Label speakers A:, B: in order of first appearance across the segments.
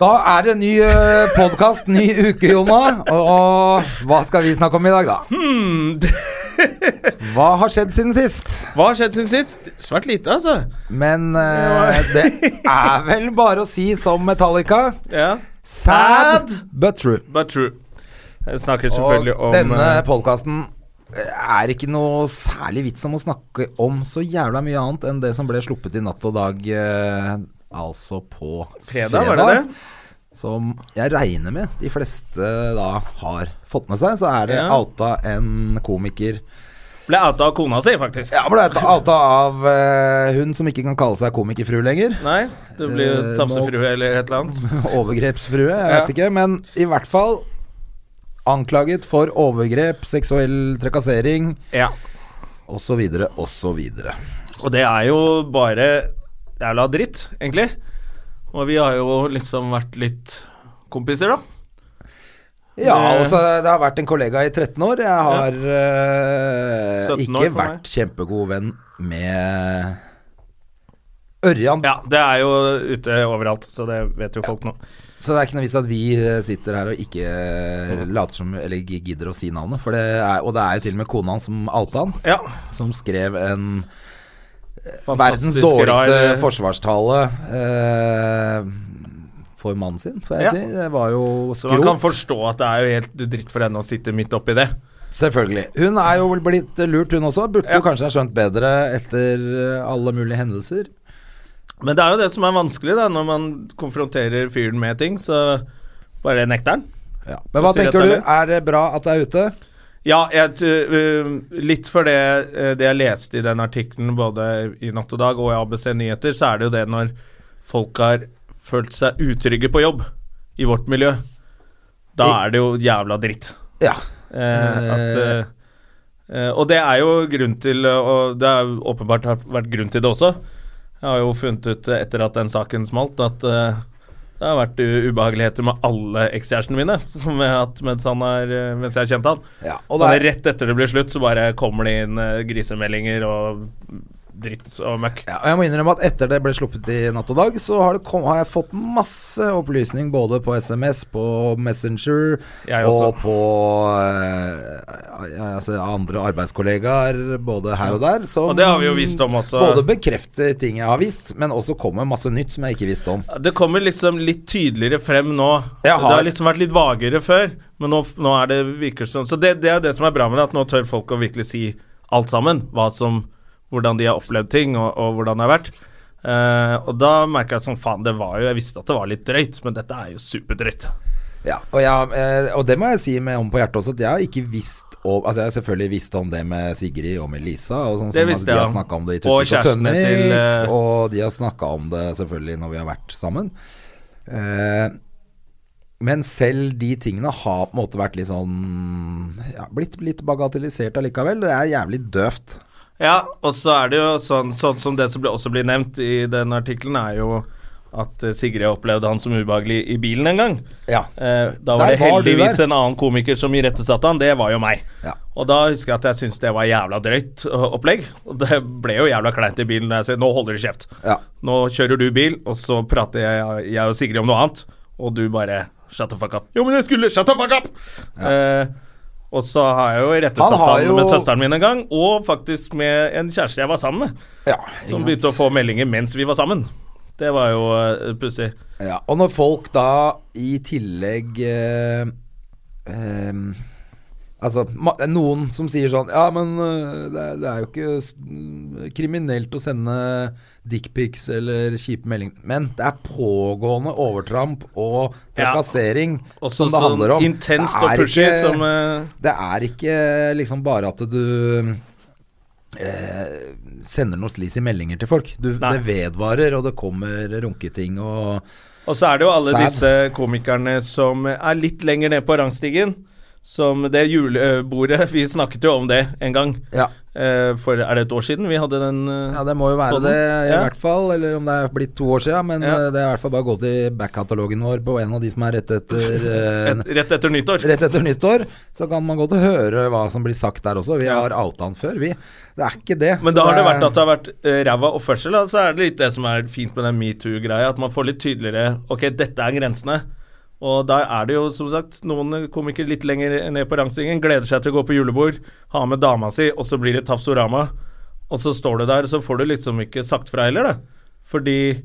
A: Da er det ny podkast, ny uke, Jonna. Og, og hva skal vi snakke om i dag, da? Hva har skjedd siden sist?
B: Hva har skjedd siden sist? Svært lite, altså.
A: Men eh, det er vel bare å si som Metallica
B: Ja.
A: Sad but true.
B: But true. Jeg snakker
A: Og
B: selvfølgelig om
A: denne
B: eh,
A: podkasten er ikke noe særlig vits om å snakke om så jævla mye annet enn det som ble sluppet i Natt og dag, eh, altså på
B: fredag, var det det?
A: Som jeg regner med de fleste da har fått med seg. Så er det
B: Ja.
A: outa en komiker
B: Ble outa av kona si, faktisk.
A: Ja, ble outa av eh, hun som ikke kan kalle seg komikerfrue lenger.
B: Nei, det blir jo
A: Eh,
B: tafsefrue eller et eller annet.
A: Overgrepsfrue, jeg
B: Ja.
A: vet ikke. Men i hvert fall anklaget for overgrep, seksuell trakassering
B: Ja.
A: osv. osv.
B: Og det er jo bare jævla dritt, egentlig. Og vi har jo liksom vært litt kompiser, da.
A: Ja,
B: Det-
A: altså det har vært en kollega i 13 år. Jeg har eh,
B: 17
A: ikke
B: år for meg.
A: vært kjempegod venn med Ørjan.
B: Ja, det er jo ute overalt, så det vet jo folk nå.
A: Så det er ikke noe vits at vi eh, sitter her og ikke eh,
B: Mhm.
A: later som Eller gi- gidder å si navnet. For det er, og det er jo til og med kona hans som outa han,
B: Ja.
A: som skrev en verdens
B: fantastisk
A: dårligste
B: rar-
A: forsvarstale eh, for mannen sin, får jeg
B: Ja.
A: si. Det var jo
B: Så man kan
A: skrot.
B: forstå at det er jo helt dritt for henne å sitte midt oppi det.
A: Selvfølgelig. Hun er jo vel blitt lurt, hun også. Burde
B: Ja.
A: jo kanskje ha skjønt bedre etter eh, alle mulige hendelser.
B: Men det er jo det som er vanskelig, da, når man konfronterer fyren med ting, så bare nekter han.
A: Men hva
B: Og sier at
A: tenker du?
B: det er
A: Er det bra at det er ute?
B: Ja, jeg, t- øh, litt for det, øh, det jeg leste i den artikkelen både i Natt og Dag og i ABC Nyheter, så er det jo det når folk har følt seg utrygge på jobb i vårt miljø. Da
A: I-
B: er det jo jævla dritt.
A: Ja.
B: Eh, at, eh, eh, og det er jo grunn til eh, Og det er jo åpenbart har vært grunn til det også. Jeg har jo funnet ut eh, etter at den saken smalt, at eh, det har vært u- ubehageligheter med alle ekskjærestene mine som jeg har hatt mens, han er, eh, mens jeg har kjent han.
A: Ja, og
B: så
A: det er-
B: rett etter det blir slutt, så bare kommer det inn eh, grisemeldinger og dritt og møkk.
A: Ja, og jeg må innrømme at etter det ble sluppet i Natt og Dag, så har, det kom, har jeg fått masse opplysning både på SMS, på Messenger
B: Jeg
A: og
B: også.
A: på eh, ja, altså andre arbeidskollegaer både her og der. Som
B: Og det har vi jo visst om også.
A: Både bekrefter ting jeg har visst, men også kommer masse nytt som jeg ikke visste om.
B: Det kommer liksom litt tydeligere frem nå.
A: Jeg har-
B: Det har liksom vært litt vagere før, men nå, nå er det virker det som Så det, det er det som er bra med det, at nå tør folk å virkelig si alt sammen. Hva som, hvordan de har opplevd ting, og, og hvordan det har vært. Eh, og da merka jeg sånn faen, det var jo Jeg visste at det var litt drøyt, men dette er jo superdrøyt.
A: Ja, og, jeg, eh, og det må jeg si med om på hjertet også, at jeg har ikke visst om Altså, jeg har selvfølgelig visst om det med Sigrid og med Lisa, og sånn som
B: Det
A: at
B: visste
A: de
B: jeg
A: har
B: om.
A: snakka om det i Tusen
B: Og
A: og
B: kjærestene
A: Tønnik,
B: til, eh,
A: og de har snakka om det selvfølgelig når vi har vært sammen. Eh, men selv de tingene har på en måte vært litt sånn ja, Blitt litt bagatellisert allikevel. Det er jævlig døvt.
B: Ja, og så er det jo sånn, sånn som det som ble, også blir nevnt i den artikkelen, er jo at eh, Sigrid opplevde han som ubehagelig i bilen en gang.
A: Ja.
B: Eh, da var
A: Der
B: det
A: var du
B: heldigvis
A: der.
B: en annen komiker som irettesatte han, det var jo meg.
A: Ja.
B: Og da husker jeg at jeg syntes det var jævla drøyt eh, opplegg. Og det ble jo jævla kleint i bilen når jeg sier nå holder du kjeft.
A: Ja.
B: Nå kjører du bil, og så prater jeg, jeg og Sigrid om noe annet, og du bare shut the fuck up. Jo, men jeg skulle shut the fuck up! Eh, og så har jeg jo irettesatt
A: Han
B: han,
A: har jo-
B: med søsteren min en gang, og faktisk med en kjæreste jeg var sammen med,
A: Ja,
B: som begynte å få meldinger mens vi var sammen. Det var jo eh, pussig.
A: Ja, og når folk da i tillegg eh, ehm, Altså, ma noen som sier sånn Ja, men eh, det er, det er jo ikke s- mm, kriminelt å sende dickpics eller kjipe meldinger Men det er pågående overtramp og
B: Ja.
A: trakassering
B: Også
A: som det
B: sånn
A: handler om.
B: intenst
A: Det er
B: og pushy
A: ikke-
B: som eh,
A: det er ikke liksom bare at du eh, sender noe slis i meldinger til folk. Du,
B: Nei.
A: det vedvarer, og det kommer runketing og
B: Og så er det jo alle
A: Sad.
B: disse komikerne som er litt lenger ned på rangstigen. Som det julebordet Vi snakket jo om det en gang.
A: Ja.
B: Eh, For er det et år siden vi hadde den? eh,
A: Ja, det må jo være
B: Podden?
A: det, i
B: Ja.
A: hvert fall. Eller om det er blitt to år siden. Men
B: Ja.
A: eh, det er i hvert fall bare å gå til backkatalogen vår på en av de som er rett etter eh,
B: et, rett etter nyttår?
A: Rett etter nyttår, så kan man godt høre hva som blir sagt der også. Vi
B: Ja.
A: har outa han før, vi. Det er ikke det.
B: Men
A: Så
B: da har det
A: er-
B: vært at det har vært eh, ræva oppførsel, da, så er det litt det som er fint med den metoo-greia, at man får litt tydeligere Ok, dette er grensene. Og der er det jo som sagt noen komikere litt lenger ned på rangstigen, gleder seg til å gå på julebord, ha med dama si, og så blir det Tafsorama. Og så står du der, så får du liksom ikke sagt fra heller, da. Fordi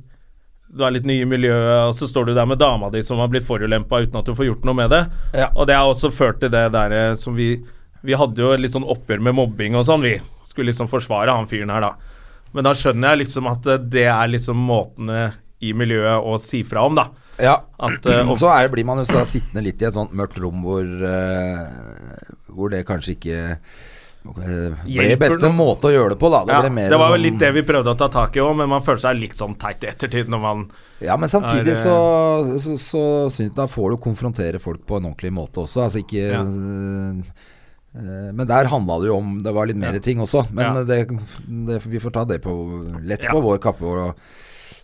B: du er litt ny i miljøet, og så står du der med dama di som har blitt forulempa uten at du får gjort noe med det.
A: Ja.
B: Og det har også ført til det der eh, som vi Vi hadde jo et litt sånn oppgjør med mobbing og sånn, vi. Skulle liksom forsvare han fyren her, da. Men da skjønner jeg liksom at eh, det er liksom måtene i miljøet å si fra om, da.
A: ja.
B: At, eh, og-
A: Så er, blir man jo da sittende litt i et sånt mørkt rom hvor, eh, hvor det kanskje ikke eh, ble
B: Hjelper
A: beste
B: noe.
A: måte å gjøre det på, da. Det,
B: Ja,
A: ble mer
B: det var jo
A: sånn-
B: litt det vi prøvde å ta tak i òg, men man føler seg litt sånn teit i ettertid når man
A: Ja, men samtidig
B: Er, eh,
A: så, så, så syns jeg da får du konfrontere folk på en ordentlig måte også. Altså ikke
B: Ja.
A: eh, eh, Men der handla det jo om Det var litt mer
B: Ja.
A: ting også. Men
B: Ja.
A: det, det, vi får ta det på lett
B: Ja.
A: på vår kappe og,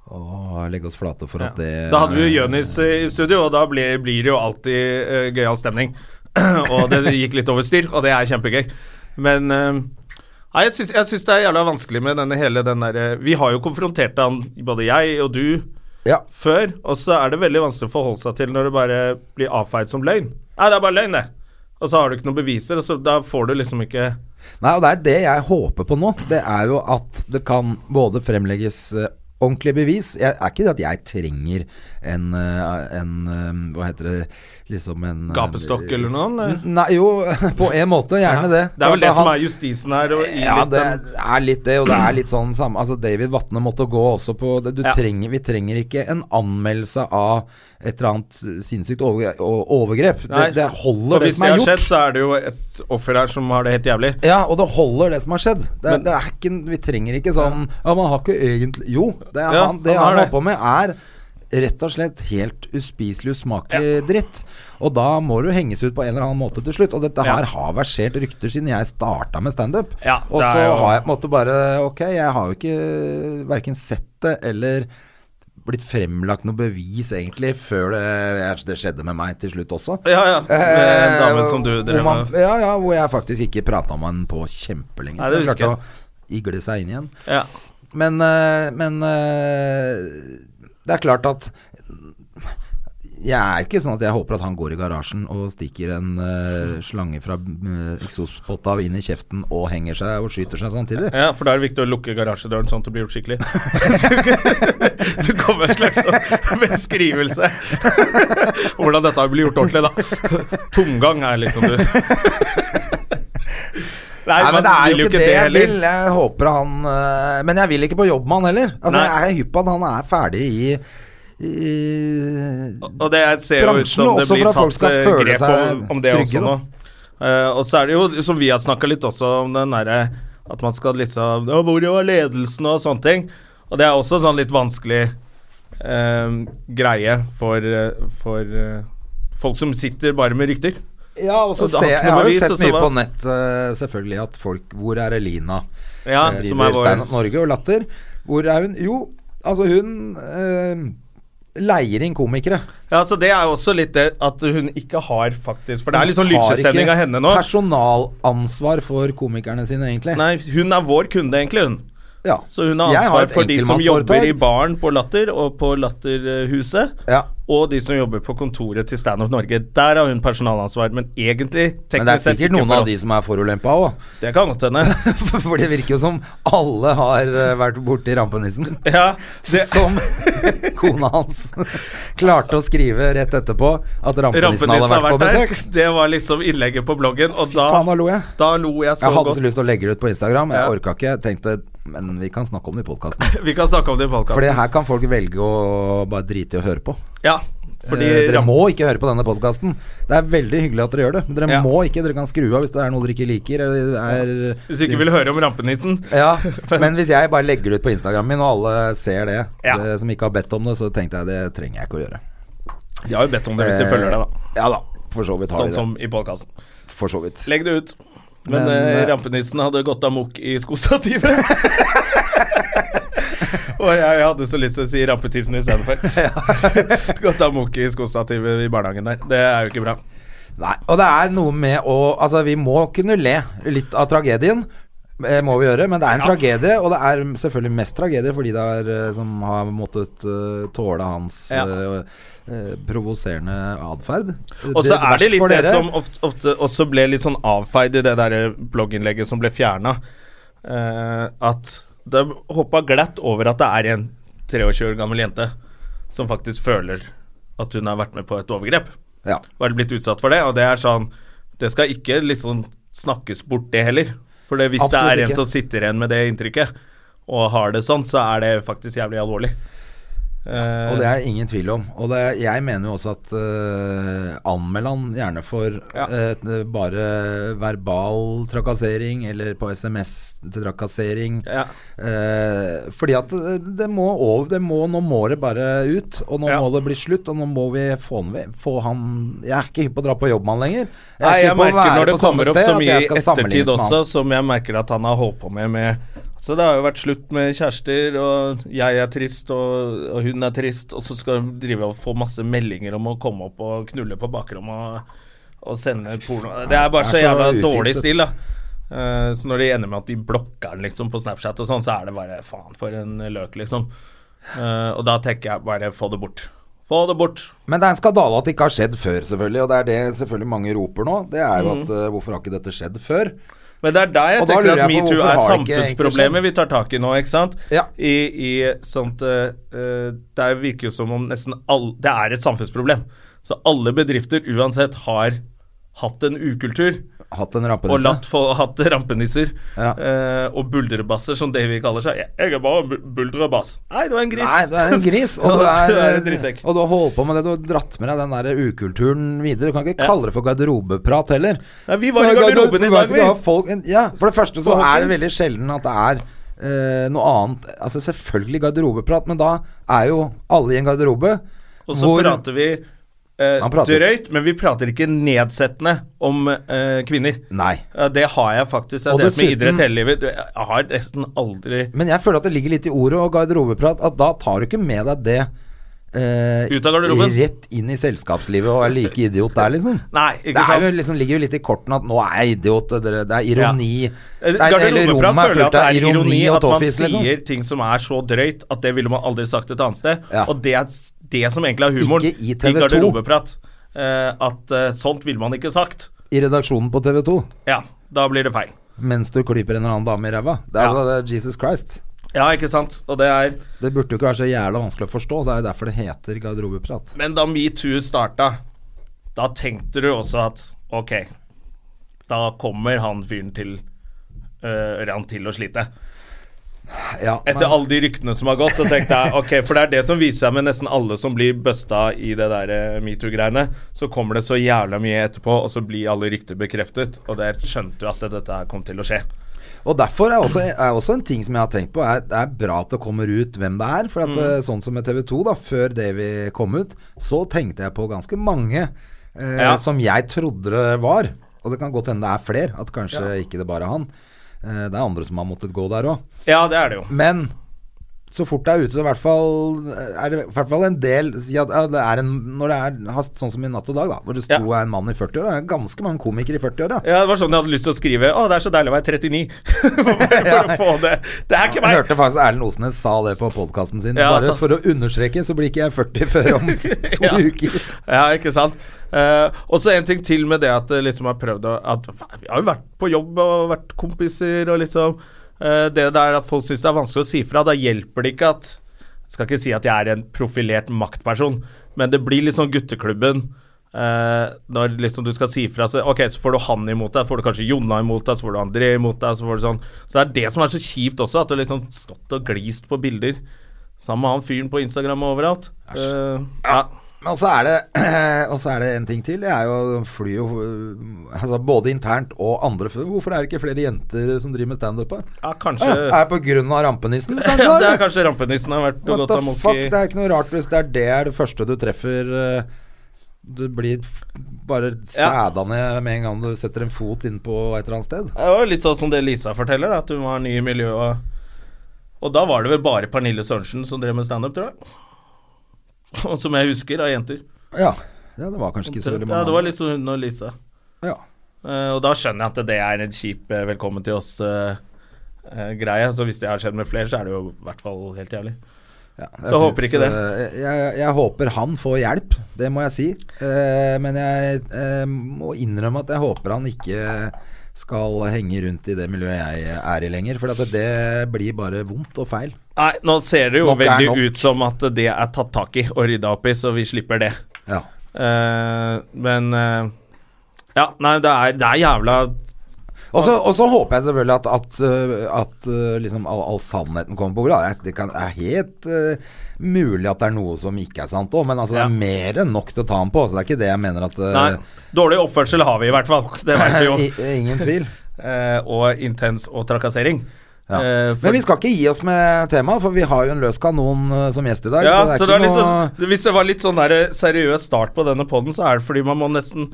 A: og legge oss flate for at det
B: Da hadde vi jo Jonis eh, i studio, og da ble, blir det jo alltid uh, gøyal stemning. og det gikk litt over styr, og det er kjempegøy. Men eh, nei, jeg syns, jeg syns det er jævla vanskelig med denne hele den derre Vi har jo konfrontert han, både jeg og du,
A: Ja.
B: før, og så er det veldig vanskelig å forholde seg til når det bare blir avfeid som løgn. Nei, det er bare løgn, det. Og så har du ikke noen beviser, og så da får du liksom ikke
A: Nei, og det er det jeg håper på nå. Det er jo at det kan både fremlegges eh, ordentlig bevis jeg, Er ikke det at jeg trenger en, eh, en eh, Hva heter det Liksom en eh,
B: Gapestokk eller noe, eller?
A: Nei, jo, på en måte. Mm, Gjerne det.
B: Det er
A: For
B: vel det
A: at
B: som
A: han-
B: er justisen her, og i
A: ja,
B: litt
A: det
B: den-
A: er litt det, og det er litt sånn samme Altså, David Vatne måtte gå også på det. du
B: Ja.
A: trenger, Vi trenger ikke en anmeldelse av et eller annet sinnssykt overgre- og overgrep. Det,
B: Nei,
A: det
B: for
A: holder det
B: hvis
A: som er
B: har
A: gjort.
B: skjedd, så er det jo et offer her som har det helt jævlig.
A: Ja, og det holder det som har skjedd. Det, det er ikke, vi trenger ikke sånn Ja, man har ikke egentlig Jo, det, er
B: Ja,
A: han, det
B: han
A: han
B: har
A: holder på med, er rett og slett helt uspiselig, usmakelig dritt. Og da må du henges ut på en eller annen måte til slutt. Og dette
B: Ja.
A: her har versert rykter siden jeg starta med standup.
B: Ja,
A: og
B: det
A: så
B: er jo-
A: har jeg på en måte bare Ok, jeg har jo ikke verken sett det eller blitt fremlagt noe bevis, egentlig, før det, det skjedde med meg til slutt også.
B: Ja, ja. Med
A: Eh,
B: damen som du drev
A: hvor man-
B: med.
A: Ja, ja, hvor jeg faktisk ikke prata med han på kjempelenge.
B: Nei, det
A: Jeg
B: husker
A: klarte å igle seg inn igjen.
B: Ja.
A: Men, eh, men eh, det er klart at jeg er ikke sånn at jeg håper at han går i garasjen og stikker en eh, slange fra eh, eksospotta inn i kjeften og henger seg og skyter seg samtidig.
B: ja, for da er det viktig å lukke garasjedøren sånn at det blir gjort skikkelig. du kommer med en slags sånn beskrivelse. Hvordan dette blir gjort ordentlig, da. Tomgang er liksom du. Nei,
A: Nei, men
B: man
A: det er
B: vil
A: jo ikke det jeg
B: heller.
A: vil. Jeg håper han eh, Men jeg vil ikke på jobb med han heller. Altså,
B: Nei.
A: jeg er hypp på at han er ferdig i, i
B: Og det ser jo ut
A: Bransjen,
B: som det
A: også
B: blir
A: for at folk
B: tatt
A: skal
B: eh,
A: føle
B: grep
A: seg
B: om, om det
A: trygge,
B: også
A: da.
B: nå. Eh, og så er det jo, som vi har snakka litt også om den derre at man skal liksom «Å, Hvor var ledelsen og sånne ting? Og det er også sånn litt vanskelig eh, greie for, eh, for eh, folk som sitter bare med rykter.
A: Ja, og så
B: Og da
A: ser jeg,
B: har
A: jeg har jo
B: vi så-
A: sett
B: så
A: mye
B: hva-
A: på nett eh, selvfølgelig at folk Hvor er Elina?
B: Ja,
A: Eh,
B: som er
A: driver
B: vår
A: Standup Norge og Latter. Hvor er hun? Jo, altså hun eh, leier inn komikere.
B: Ja, så Det er jo også litt det at hun ikke har faktisk For det er litt sånn
A: Hun har
B: lynsjestemning
A: ikke
B: av henne nå.
A: Personalansvar for komikerne sine, egentlig.
B: Nei, hun er vår kunde, egentlig, hun.
A: Ja.
B: Så hun har
A: Jeg
B: ansvar
A: et
B: for de som
A: enkeltmannsforetak.
B: jobber i baren på Latter og på Latterhuset.
A: Ja.
B: Og de som jobber på kontoret til Stand Up Norge. Der har hun personalansvar, men egentlig
A: Men det
B: teknisk
A: er
B: sett
A: sikkert
B: ikke
A: noen
B: for
A: av de
B: oss.
A: som er forulempa òg.
B: Det kan godt hende.
A: For det virker jo som alle har eh, vært borti rampenissen.
B: Ja, det,
A: Som kona hans klarte å skrive rett etterpå at rampenissen,
B: rampenissen
A: hadde
B: har
A: vært på
B: vært der.
A: besøk.
B: Det var liksom innlegget på bloggen, og
A: Faen,
B: da,
A: da lo jeg.
B: da lo jeg så
A: Jeg hadde så
B: godt.
A: lyst til å legge det ut på Instagram, jeg
B: Ja.
A: orka ikke. Jeg tenkte men vi kan snakke om det i podkasten.
B: Vi kan snakke om det i
A: For
B: podkasten.
A: her kan folk velge å bare drite i å høre på.
B: Ja, Fordi
A: Eh, dere
B: ram-
A: må ikke høre på denne podkasten. Det er veldig hyggelig at dere gjør det, men dere
B: Ja.
A: må ikke. Dere kan skru av hvis det er noe dere ikke liker. Eller er,
B: Hvis du ikke vil høre om rampenissen
A: Ja, Men hvis jeg bare legger det ut på Instagram min, og alle ser det,
B: Ja.
A: det som ikke har bedt om det, så tenkte jeg det trenger jeg ikke å gjøre.
B: De har jo bedt om det hvis de følger deg, da.
A: Eh, Ja da. For så vidt har
B: Sånn
A: de det.
B: som i podkasten.
A: For så vidt.
B: Legg det ut. Men,
A: Men,
B: eh,
A: eh,
B: rampenissen hadde gått amok i skostativet. Og jeg hadde så lyst til å si rampetissen istedenfor. gått amok i skostativet i barnehagen der. Det er jo ikke bra.
A: Nei, og det er noe med å Altså, vi må kunne le litt av tragedien. eh, Må vi gjøre, men det er en tragedie, og det er selvfølgelig mest tragedie for de der eh, som har måttet eh, tåle hans
B: Ja.
A: eh, eh, provoserende atferd.
B: Og så er det litt det som ofte, ofte også ble litt sånn avfeid i det der blogginnlegget som ble fjerna, eh, at det hoppa glatt over at det er en 23 år gammel jente som faktisk føler at hun har vært med på et overgrep.
A: Ja.
B: Var blitt utsatt for det, og det er sånn Det skal ikke liksom snakkes bort, det heller. For det, hvis
A: Absolutt
B: det er en
A: ikke.
B: som sitter igjen med det inntrykket, og har det sånn, så er det faktisk jævlig alvorlig. Eh,
A: Og det er det ingen tvil om. Og det, jeg mener jo også at eh, anmeld han gjerne for
B: Ja.
A: eh, t- bare verbal trakassering eller på SMS til trakassering.
B: Ja.
A: Eh, fordi at det, det må over, det må, nå må det bare ut, og nå
B: Ja.
A: må det bli slutt, og nå må vi få han, ved- få han Jeg er ikke hypp på å dra på jobb med han lenger. er
B: Nei,
A: ikke
B: jeg
A: hypp på å
B: merker
A: være
B: når
A: på
B: det
A: samme
B: kommer opp
A: sted
B: så
A: at
B: mye
A: jeg
B: i
A: skal
B: ettertid
A: sammenlignes med han.
B: også, som jeg merker at han har holdt på med med Så det har jo vært slutt med kjærester, og jeg er trist, og, og hun er trist, og så skal hun drive og få masse meldinger om å komme opp og knulle på bakrommet og, og sende porno Det er bare
A: Det
B: så
A: er så
B: jævla
A: ufint,
B: dårlig
A: vet du.
B: stil, da. Eh, Så når det ender med at de blokker den liksom på Snapchat og sånn, så er det bare faen for en løk, liksom. Eh, Og da tenker jeg bare få det bort. Få det bort.
A: Men det er en skandale at det ikke har skjedd før, selvfølgelig. Og det er det selvfølgelig mange roper nå. Det er
B: Mm.
A: jo at eh, hvorfor har ikke dette skjedd før?
B: Men det er der jeg
A: Og da
B: tenker
A: lurer
B: at
A: jeg på
B: metoo
A: hvorfor
B: er
A: har det ikke egentlig
B: samfunnsproblemet
A: skjedd?
B: vi tar tak i nå, ikke sant?
A: Ja.
B: I, i sånt eh, eh, Det virker jo som om nesten alle Det er et samfunnsproblem. Så alle bedrifter uansett har hatt en ukultur
A: Hatt en rampenisse.
B: og latt få, hatt rampenisser
A: Ja.
B: eh, og buldrebasser, som Davy kaller seg. Jeg- Jeg er bare bu- bulderebass. Nei, du er en gris.
A: Nei, du er en gris, og du er,
B: en drittsekk.
A: og du har holdt på med det. Du har dratt med deg den der ukulturen videre. Du kan ikke kalle det for garderobeprat heller.
B: Nei, vi var i garderoben i dag,
A: vi.
B: vi.
A: Folk, ja, for det første så
B: På hockey.
A: er det veldig sjelden at det er eh, noe annet Altså selvfølgelig garderobeprat, men da er jo alle i en garderobe.
B: Og så
A: hvor-
B: prater vi eh,
A: Han prater-
B: drøyt, men vi prater ikke nedsettende om eh, kvinner.
A: Nei.
B: Ja, det har jeg faktisk. Jeg
A: Og
B: har drevet med
A: dessuten-
B: idrett hele livet. Jeg har nesten aldri
A: Men jeg føler at det ligger litt i ordet og garderobeprat, at da tar du ikke med deg det eh,
B: Ut av garderoben.
A: Rett inn i selskapslivet og er like idiot der, liksom.
B: Nei, ikke
A: det er
B: sant?
A: jo liksom, ligger jo litt i kortene at 'nå er jeg idiot', det, det er ironi det er, Hele
B: Garderobeprat
A: rommet er
B: Eh, føler jeg
A: fullt
B: at det
A: av
B: er ironi
A: ironi og
B: at man
A: toffis, liksom.
B: sier ting som er så drøyt at det ville man aldri sagt et annet sted.
A: Ja.
B: Og det er s- det som egentlig er humoren
A: Ikke i TV2.
B: garderobeprat. eh, at eh, sånt ville man ikke sagt.
A: I redaksjonen på TV 2
B: Ja, da blir det feil.
A: mens du klyper en eller annen dame i ræva. Det er
B: Ja.
A: altså det er Jesus Christ.
B: Ja, ikke sant? Og det er
A: Det burde jo ikke være så jævla vanskelig å forstå. Det er jo derfor det heter garderobeprat.
B: Men da metoo starta, da tenkte du også at ok, da kommer han fyren til eh, Ørjan til å slite.
A: Ja,
B: Etter alle de ryktene som har gått, så tenkte jeg ok, for det er det som viser seg med nesten alle som blir busta i det der eh, metoo-greiene. Så kommer det så jævla mye etterpå, og så blir alle rykter bekreftet. Og der skjønte du at det, dette her kom til å skje.
A: Og derfor er også, er også en ting som jeg har tenkt på, er, det er bra at det kommer ut hvem det er. For at
B: Mm.
A: eh, sånn som med TV 2, da, før Davy kom ut, så tenkte jeg på ganske mange eh,
B: Ja.
A: som jeg trodde det var. Og det kan godt hende det er flere, at kanskje ikke det bare er han. Eh, det er andre som har måttet gå der òg.
B: Ja, det er det jo.
A: Men så fort det er ute, så i hvert fall eh, er det i hvert fall en del si at, ja, det er en, Når det er har- sånn som i Natt og dag, da, hvor det sto
B: Ja.
A: en mann i 40-åra, det er ganske mange komikere i 40-åra.
B: Ja, Det var sånn jeg hadde lyst til å skrive. Å, det er så deilig å være 39. Bare for å få det. Det er ikke
A: Jeg
B: meg.
A: hørte faktisk Erlend Osnes sa det på podkasten sin.
B: Ja,
A: Bare
B: ta-
A: for å understreke, så blir ikke jeg 40 før om to
B: Ja.
A: uker.
B: Ja, ikke sant. Eh, og så en ting til med det at det liksom har prøvd å at, Vi har jo vært på jobb og vært kompiser og liksom eh, Det der at folk syns det er vanskelig å si fra, da hjelper det ikke at Jeg skal ikke si at jeg er en profilert maktperson, men det blir liksom gutteklubben eh, når liksom du skal si fra så, Ok, så får du han imot deg, så får du kanskje Jonna imot deg, så får du André imot deg, så får du sånn Så det er det som er så kjipt også, at du liksom stått og glist på bilder sammen med han fyren på Instagram og overalt. Eh, ja.
A: Men så er, det, og så er det en ting til. Jeg er jo, flyr jo øh, altså både internt og andre. Hvorfor er det ikke flere jenter som driver med standup? da?
B: Ja,
A: Ja,
B: kanskje
A: Er det på grunn av rampenissen? Kanskje,
B: ja, Det
A: eller?
B: er kanskje rampenissen har vært
A: What
B: godt
A: the
B: av
A: fuck,
B: Monkey.
A: det er ikke noe rart hvis det er det er det første du treffer eh, Du blir f- bare sæda ned med en gang du setter en fot inn på et eller annet sted.
B: Det var jo litt sånn som det Lisa forteller, da, at hun var ny i miljøet. Og, og da var det vel bare Pernille Sørensen som drev med standup, tror jeg. Og som jeg husker, av jenter.
A: Ja, ja det var kanskje ikke så veldig mange.
B: Ja, det var litt sånn hun og Lisa.
A: andre. ja.
B: Eh, og da skjønner jeg at det er en kjip eh, velkommen til oss-greie. så hvis det har skjedd med flere, så er det jo i hvert fall helt jævlig.
A: Ja,
B: Så håper ikke det.
A: eh, Jeg, jeg håper han får hjelp, det må jeg si. Eh, men jeg eh, må innrømme at jeg håper han ikke skal henge rundt i det miljøet jeg er i lenger. For at det blir bare vondt og feil.
B: Nei, nå ser det jo
A: Nok er nok.
B: veldig ut som at det er tatt tak i og rydda opp i, så vi slipper det.
A: Ja.
B: Eh, men eh, Ja, nei, det er, det er jævla
A: Og så og så håper jeg selvfølgelig at, at, øh, at øh, liksom all, all sannheten kommer på bordet. da. Det kan, er helt øh, mulig at det er noe som ikke er sant òg, men altså, det
B: Ja.
A: er mer enn nok til å ta ham på. Så det er ikke det jeg mener at øh,
B: Nei, dårlig oppførsel har vi i hvert fall. Det vet vi jo.
A: i, Ingen tvil.
B: Eh, og intens og trakassering.
A: Ja.
B: Eh, for-
A: Men vi skal ikke gi oss med temaet, for vi har jo en løs kanon øh, som gjest i dag.
B: Ja, så det er
A: ikke
B: litt sånn, hvis det var litt sånn der seriøs start på denne poden, så er det fordi man må nesten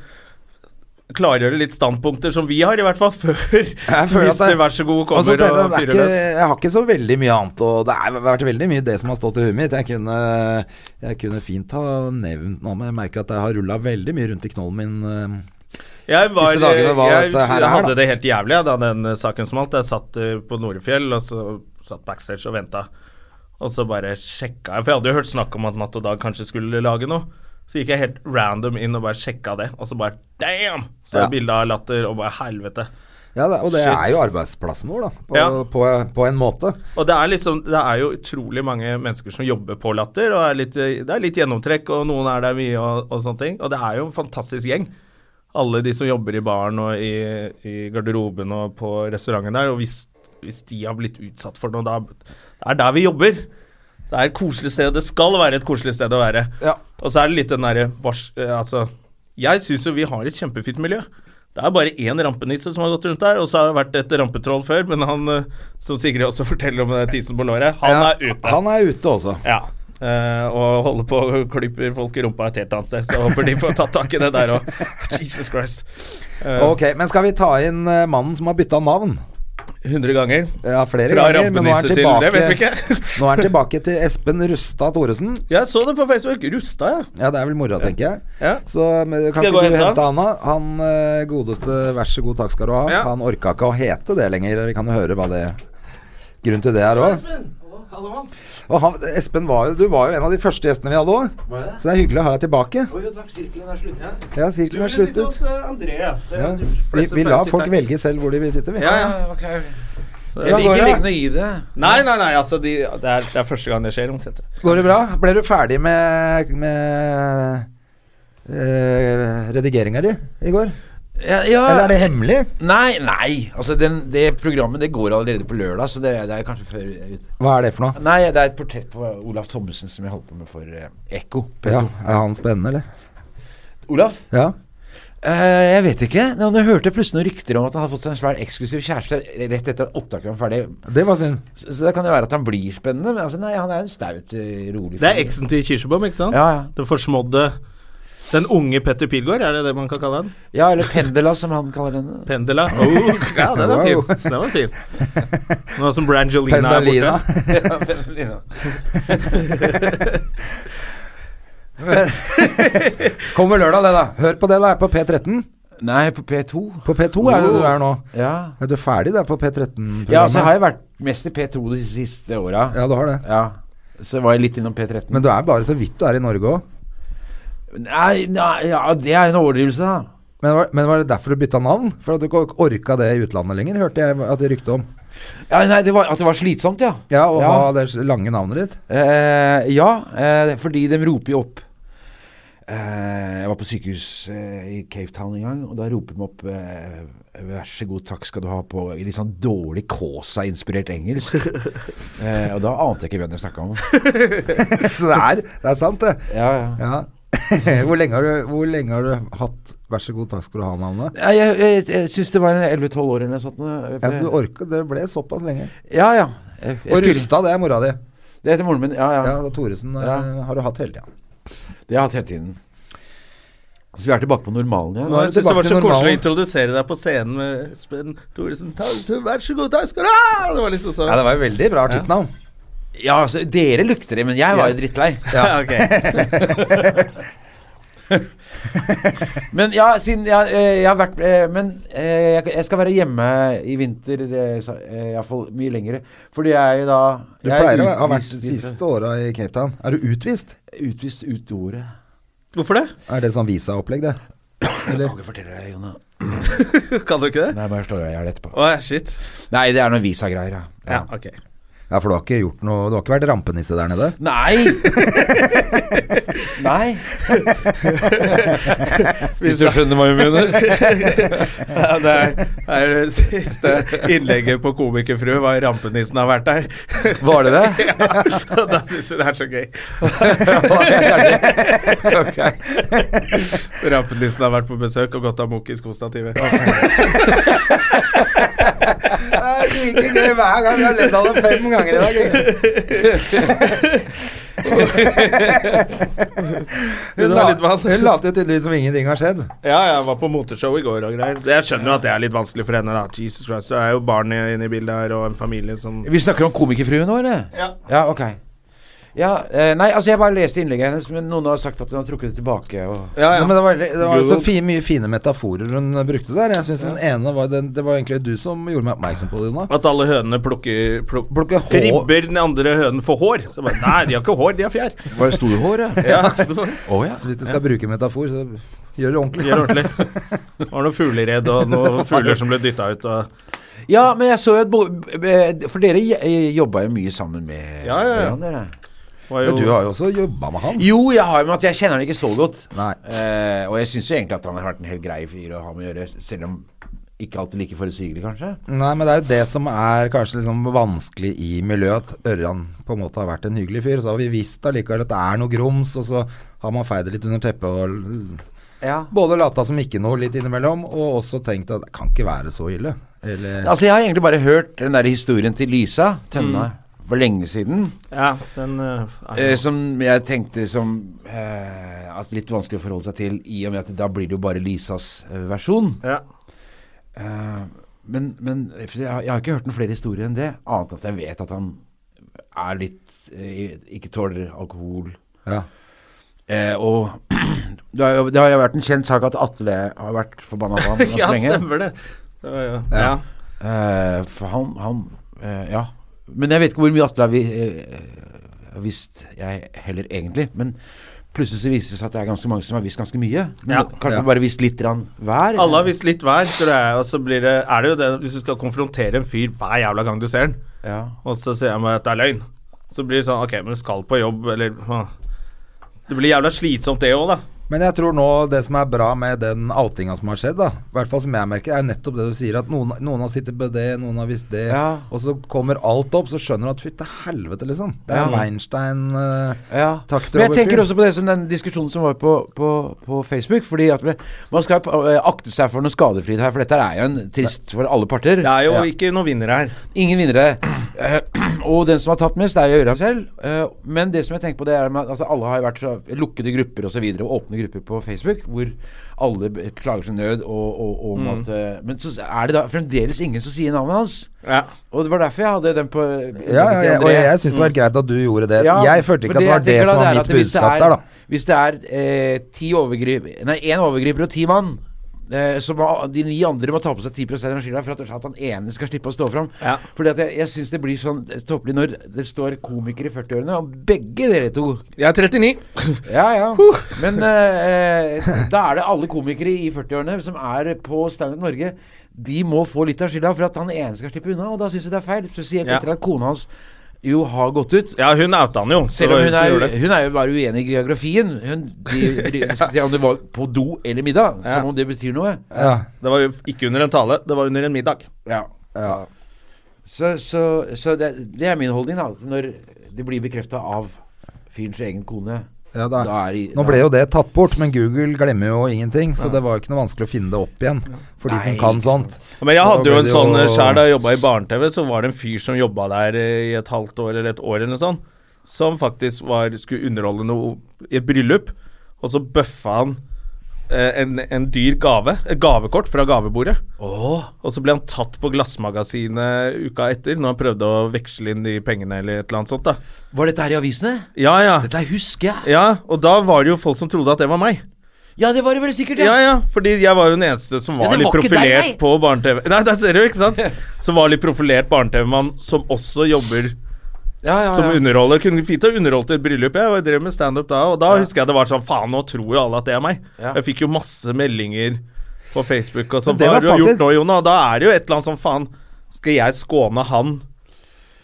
B: klargjøre litt standpunkter som vi har, i hvert fall før
A: Jeg føler
B: hvis
A: at det-
B: det vær så god
A: Og så
B: kommer
A: tenkte jeg,
B: og
A: det er
B: fyrer
A: ikke,
B: løs.
A: jeg har ikke så veldig mye annet, og det har vært veldig mye det som har stått i huet mitt. Jeg kunne, jeg kunne fint ha nevnt noe, men jeg merker at jeg har rulla veldig mye rundt i knollen min. øh,
B: Jeg, var,
A: Siste dagene var
B: jeg,
A: dette her,
B: hadde
A: da.
B: det helt jævlig ja, da den eh, saken smalt. Jeg satt eh, på Norefjell og så satt backstage og venta. Og så bare sjekka jeg, for jeg hadde jo hørt snakk om at Matt og Dag kanskje skulle lage noe. Så gikk jeg helt random inn og bare sjekka det, og så bare damn! Så
A: Ja.
B: ja. bilde av latter og bare helvete.
A: Ja, det, og det
B: Shit.
A: er jo arbeidsplassen vår, da. På,
B: Ja.
A: på, på en måte.
B: Og det er liksom Det er jo utrolig mange mennesker som jobber på latter, og er litt, det er litt gjennomtrekk, og noen er der mye og, og sånne ting. Og det er jo en fantastisk gjeng. Alle de som jobber i baren og i, i garderoben og på restauranten der. Og hvis, hvis de har blitt utsatt for noe, da Det er der vi jobber. Det er et koselig sted, og det skal være et koselig sted å være.
A: Ja.
B: Og så er det litt den derre vars- eh, Altså, jeg syns jo vi har et kjempefint miljø. Det er bare én rampenisse som har gått rundt der, og så har det vært et rampetroll før, men han eh, som Sigrid også forteller om eh, tissen på låret, han
A: Ja,
B: er ute.
A: Han er ute også.
B: Ja. Eh, og holder på og klyper folk i rumpa et helt annet sted, så jeg håper de får tatt tak i det der òg. Jesus Christ. Eh,
A: Ok, Men skal vi ta inn eh, mannen som har bytta navn?
B: 100 ganger.
A: Ja, flere
B: Fra
A: ganger, men nå er han
B: rampenisse til
A: tilbake,
B: det vet vi ikke.
A: nå er han tilbake til Espen Rustad Thoresen.
B: Jeg så det på Facebook. Rusta, ja.
A: Ja, det er vel mora, tenker jeg.
B: ja.
A: Så men, kan
B: Skal jeg
A: ikke
B: gå og
A: du
B: hente
A: hente han, da? Han eh, godeste, vær så god, takk skal du ha.
B: Ja.
A: Han orka ikke å hete det lenger. Vi kan jo høre hva det Grunnen til det er òg. Og han, Espen, var jo, du var jo en av de første gjestene vi hadde òg. Så det er hyggelig å ha deg tilbake. Ja, sirkelen er sluttet. Ja. Vi, vi lar folk velge selv hvor de vil sitte, vi.
B: Ja, ja, ok.
A: Hvordan går det?
C: å gi det.
B: Nei, nei, nei, altså de, det, er, det er første gang det skjer omtrent.
A: Går det bra? Ble du ferdig med, med eh, redigeringa di i går?
C: Ja, ja.
A: Eller er det hemmelig?
C: Nei, nei. Altså, den, det programmet det går allerede på lørdag, så det, er- det er kanskje før jeg er ute.
A: Hva er det for noe?
C: Nei, det er et portrett på Olaf Thommessen som jeg holdt på med for eh, Ekko.
A: Ja,
C: P2.
A: er han spennende, eller?
C: Olaf?
A: Ja.
C: Eh, jeg vet ikke. Nå, nå hørte jeg plutselig noen rykter om at han hadde fått seg en svær eksklusiv kjæreste rett etter at opptaket var ferdig.
A: Det var synd.
C: Så, så det kan jo være at han blir spennende, men altså, nei, han er en staut, eh, rolig
B: Det er
C: fyr.
B: eksen til Kirsebom, ikke sant?
C: Ja, ja.
B: Den forsmådde Den unge Petter Pilgaard, er det det man kan kalle han?
C: ja, eller Pendela, som han kaller henne.
B: Pendela. Oh, ja, den var
A: Wow.
B: fin. Den var fin. Nå som Brangelina er borte.
A: Pendalina.
C: Ja, Pendelina.
A: Kommer lørdag, det, da. Hør på det, da. Er på P13.
C: Nei, på P2.
A: På P2 er det du er nå.
C: Ja.
A: Er du ferdig der på P13-programmet?
C: Oh. Ja, så har jeg vært mest i P2 de siste åra.
A: Ja, du har det.
C: Ja. Så var jeg litt innom P13.
A: Men du er bare så vidt du er i Norge òg.
C: nei, nei, ja, det er en overdrivelse, da.
A: Men, var- men var det derfor du bytta navn? For at du ikke ork- orka det i utlandet lenger, hørte jeg at det rykte om.
C: Ja, nei, det var, At det var slitsomt, ja.
A: Ja, å
C: Ja.
A: ha det lange navnet ditt.
C: Eh, ja, eh, fordi de roper jo opp. Eh, jeg var på sykehus eh, i Cape Town en gang, og da roper de opp eh, Vær så god, takk skal du ha, på i litt sånn dårlig Kaasa-inspirert engelsk. eh, og da ante jeg ikke hvem jeg snakka om.
A: Så det er, det er sant, det.
C: Ja, ja.
A: Ja. hvor, lenge har du, hvor lenge har du hatt 'vær så god, takk skal du ha'-navnet?
C: Jeg, jeg, jeg, jeg syns det var en 11-12 år eller noe sånt. eh,
A: Ja, så du orket, det ble såpass lenge.
C: Ja, ja. Jeg, jeg
A: Og
C: skulle,
A: Rustad, det er mora di.
C: det heter moren min. Ja, ja.
A: Ja, da Thoresen eh,
C: Ja.
A: har du hatt hele tida.
C: Det har jeg hatt hele tiden. Så vi er tilbake på normalen igjen.
A: Nå er
B: Jeg synes det
A: tilbake
B: var så
A: til
B: koselig å
A: normalen.
B: introdusere deg på scenen med Espen Thoresen. Ta- ta- Vær så god, takk skal du ha! Det var liksom sånn.
A: Ja, det var jo veldig bra artistnavn.
C: Ja, altså, dere lukter det, men jeg var jo drittlei.
B: Ja, ok.
C: Men ja, siden jeg, eh, jeg har vært eh, Men eh, jeg jeg skal være hjemme i vinter, eh, iallfall mye lengre. Fordi jeg da
A: Du
C: jeg er
A: pleier å ha vært
C: utvist-
A: de siste åra i Cape Town. Er du utvist?
C: Utvist ut ordet.
B: Hvorfor det?
A: Er det sånn visaopplegg, det?
C: Jeg kan ikke fortelle deg, Jonna.
B: Kan du ikke det?
C: Nei, bare slå deg i hjel etterpå.
B: Å, shit.
C: Nei, det er noen visagreier, ja.
B: Ja, ok.
A: Ja, for du har ikke gjort noe Du har ikke vært rampenisse der nede?
C: Nei! Nei. Hvis du skjønner hva jeg mener.
B: Ja, det, er, det er det siste innlegget på Komikerfrue var rampenissen har vært der.
C: Var det det?
B: Ja, da syns jeg det er så gøy. Rampenissen har vært på besøk og gått amok i skostativet.
A: Like gøy hver gang. Jeg har ledd av det fem ganger i dag.
B: Hun
A: Hun,
B: har litt vann.
A: hun later jo tydeligvis som ingenting har skjedd.
B: Ja, jeg var på moteshow i går og greier. Så jeg skjønner jo at det er litt vanskelig for henne, da. Jesus Christ, det er jo barn i- inne i bildet her, og en familie som
C: Vi snakker om komikerfruen nå, eller?
B: Ja.
C: Ja, ok. Ja, eh, nei, altså jeg bare leste innlegget hennes, men noen har sagt at hun har trukket det tilbake. Og
B: Ja,
A: Nei, men det var, veldig- det var så
B: Google.
A: fi, mye fine metaforer hun brukte der. Jeg synes den ene var den, Det var egentlig du som gjorde meg oppmerksom på det, Jonna.
B: At alle hønene plukker, pluk,
A: Plukke hår.
B: Ribber den andre hønen for hår. Så jeg bare, Nei, de har ikke hår, de har fjær.
C: Var det storhår, ja?
B: Ja, så det var-
C: Å ja.
A: Så hvis du skal bruke metafor, så gjør det ordentlig.
B: Gjør ordentlig. Det var noen fugleredd og noen fugler som ble dytta ut. Og
C: Ja, men jeg så jo et bo... eh, For dere j- jobba jo mye sammen med
B: Ja, ja, ja.
C: hverandre, dere.
B: var
A: Men
B: jo,
A: du har jo også jobba med han.
C: Jo, jeg har jo, men at jeg kjenner han ikke så godt.
A: Nei.
C: Eh, og jeg syns jo egentlig at han har vært en helt grei fyr å ha med å gjøre, selv om ikke alltid like forutsigelig, kanskje.
A: Nei, men det er jo det som er kanskje liksom vanskelig i miljøet. At Ørjan på en måte har vært en hyggelig fyr. Så har vi visst allikevel at det er noe grums, og så har man feid det litt under teppet og l-
C: Ja.
A: både lata som ikke noe litt innimellom, og også tenkt at det kan ikke være så ille. Eller
C: Altså, jeg har egentlig bare hørt den der historien til Lisa Tønne for lenge siden.
B: Mm. ja, den eh,
C: Eh,
B: er jo-
C: som jeg tenkte som eh, at litt vanskelig å forholde seg til, i og med at da blir det jo bare Lisas eh, versjon.
B: ja.
C: Eh, men men for jeg, har- jeg har ikke hørt noen flere historier enn det, annet enn at jeg vet at han er litt eh, Ikke tåler alkohol.
A: Ja.
C: Eh, og det har, jo, det har jo vært en kjent sak at Atle har vært forbanna på ham ganske
B: ja,
C: lenge.
B: stemmer det. det var jo,
A: Ja.
B: ja.
C: Eh, for han, han eh, Ja. Men jeg vet ikke hvor mye Atle har vi, eh, har visst, jeg heller egentlig. Men plutselig så viser det seg at det er ganske mange som har visst ganske mye. Men
B: Ja.
C: Kanskje
A: Ja.
C: bare visst litt grann hver.
B: Alle har visst litt hver, tror jeg. Og så blir det, er det jo det hvis du skal konfrontere en fyr hver jævla gang du ser den,
C: Ja.
B: og så sier han at det er løgn, så blir det sånn Ok, men du skal på jobb, eller ah. Det blir jævla slitsomt, det òg, da.
A: Men jeg tror nå det som er bra med den outinga som har skjedd, da, i hvert fall som jeg merker, er nettopp det du sier, at noen, noen har sittet på det, noen har visst det,
C: Ja.
A: og så kommer alt opp, så skjønner du at fy til helvete, liksom. Det er
C: Ja.
A: Weinstein eh,
C: Ja.
A: Takk til
C: Men jeg
A: Robert
C: tenker
A: Fyr.
C: også på det som den diskusjonen som var på, på, på Facebook. Fordi at man skal eh, akte seg for noe skadefryd her, for dette er jo en trist for alle parter.
B: Det er jo
A: Ja.
B: ikke noen vinnere her.
C: Ingen vinnere. Eh, og den som har tapt mest, er jo Ørjan selv. Eh, men det som jeg tenker på, det er at altså, alle har jo vært så lukkede grupper og så videre, og åpne grupper på Facebook, hvor alle b- klager sin nød og, og, og om at eh, Men så er det da fremdeles ingen som sier navnet hans.
B: Ja.
C: Og det var derfor jeg hadde den på
A: Ja, ja, ja, og jeg, jeg syns det
C: Mm.
A: var greit at du gjorde det. jeg følte ikke at det var det som var mitt budskap der, da.
C: Hvis det er eh, ti overgrip, nei, én overgriper og ti mann eh, så må de ni andre må ta på seg 10 av skylda for at, at han ene skal slippe å stå fram.
B: Ja.
C: Fordi at jeg, jeg syns det blir sånn tåpelig når det står komikere i 40-årene, og begge dere to
B: Jeg er 39.
C: Ja, ja. Men eh, eh, da er det alle komikere i 40-årene som er på Standup Norge. De må få litt av skylda for at han ene skal slippe unna, og da syns jeg det er feil. Spesielt
B: Ja.
C: etter at kona hans jo har gått ut.
B: Ja, hun outa han jo. så
C: Selv om
B: det
C: hun
B: var som
C: er,
B: gjorde det.
C: hun er jo bare uenig i geografien. Hun de, de, diskuterer om det var på do eller middag,
B: Ja.
C: som om det betyr noe.
A: Ja.
B: Det var jo ikke under en tale, det var under en middag.
C: Ja.
A: Ja.
C: Så, så, Altså, så det, det er min holdning, da. at Når det blir bekrefta av fyrens egen kone
A: Ja, da,
C: Da er de-
A: nå ble jo det tatt bort, men Google glemmer jo ingenting, så det var jo ikke noe vanskelig å finne det opp igjen for de som
C: Nei,
A: kan
C: ikke
A: sånt.
B: Men jeg
A: Da
B: hadde jo
A: ble
B: en
A: det
B: sånn
A: jo-
B: sjæl da jeg jobba i barne-TV, så var det en fyr som jobba der eh, i et halvt år eller et år eller noe sånt, som faktisk var, skulle underholde noe i et bryllup, og så bøffa han eh, en, en dyr gave, et gavekort fra gavebordet. Og så ble han tatt på Glassmagasinet uka etter, når han prøvde å veksle inn de pengene eller et eller annet sånt, da.
C: Var dette her i avisene?
B: Ja, ja.
C: Dette her husker jeg.
B: Ja, og da var det jo folk som trodde at det var meg.
C: Ja, det var det vel sikkert,
B: Ja, ja, fordi jeg var jo den eneste som var,
C: det
B: litt
C: var ikke deg,
B: profilert
C: nei.
B: på barne-TV. Nei, der ser du, ikke sant? Som var litt profilert barne-TV-mann som også jobber
C: Ja, ja,
B: som
C: ja.
B: underholder. Kunne fint ha underholdt et bryllup, jeg var- drev med standup da, og da husker jeg det var sånn faen, nå tror jo alle at det er meg.
C: Ja.
B: Jeg fikk jo masse meldinger på Facebook og sånn.
A: Men det
B: Hva
A: var
B: har du gjort
A: faktisk-
B: nå, Jona? Og da er det jo et eller annet sånn faen, skal jeg skåne han?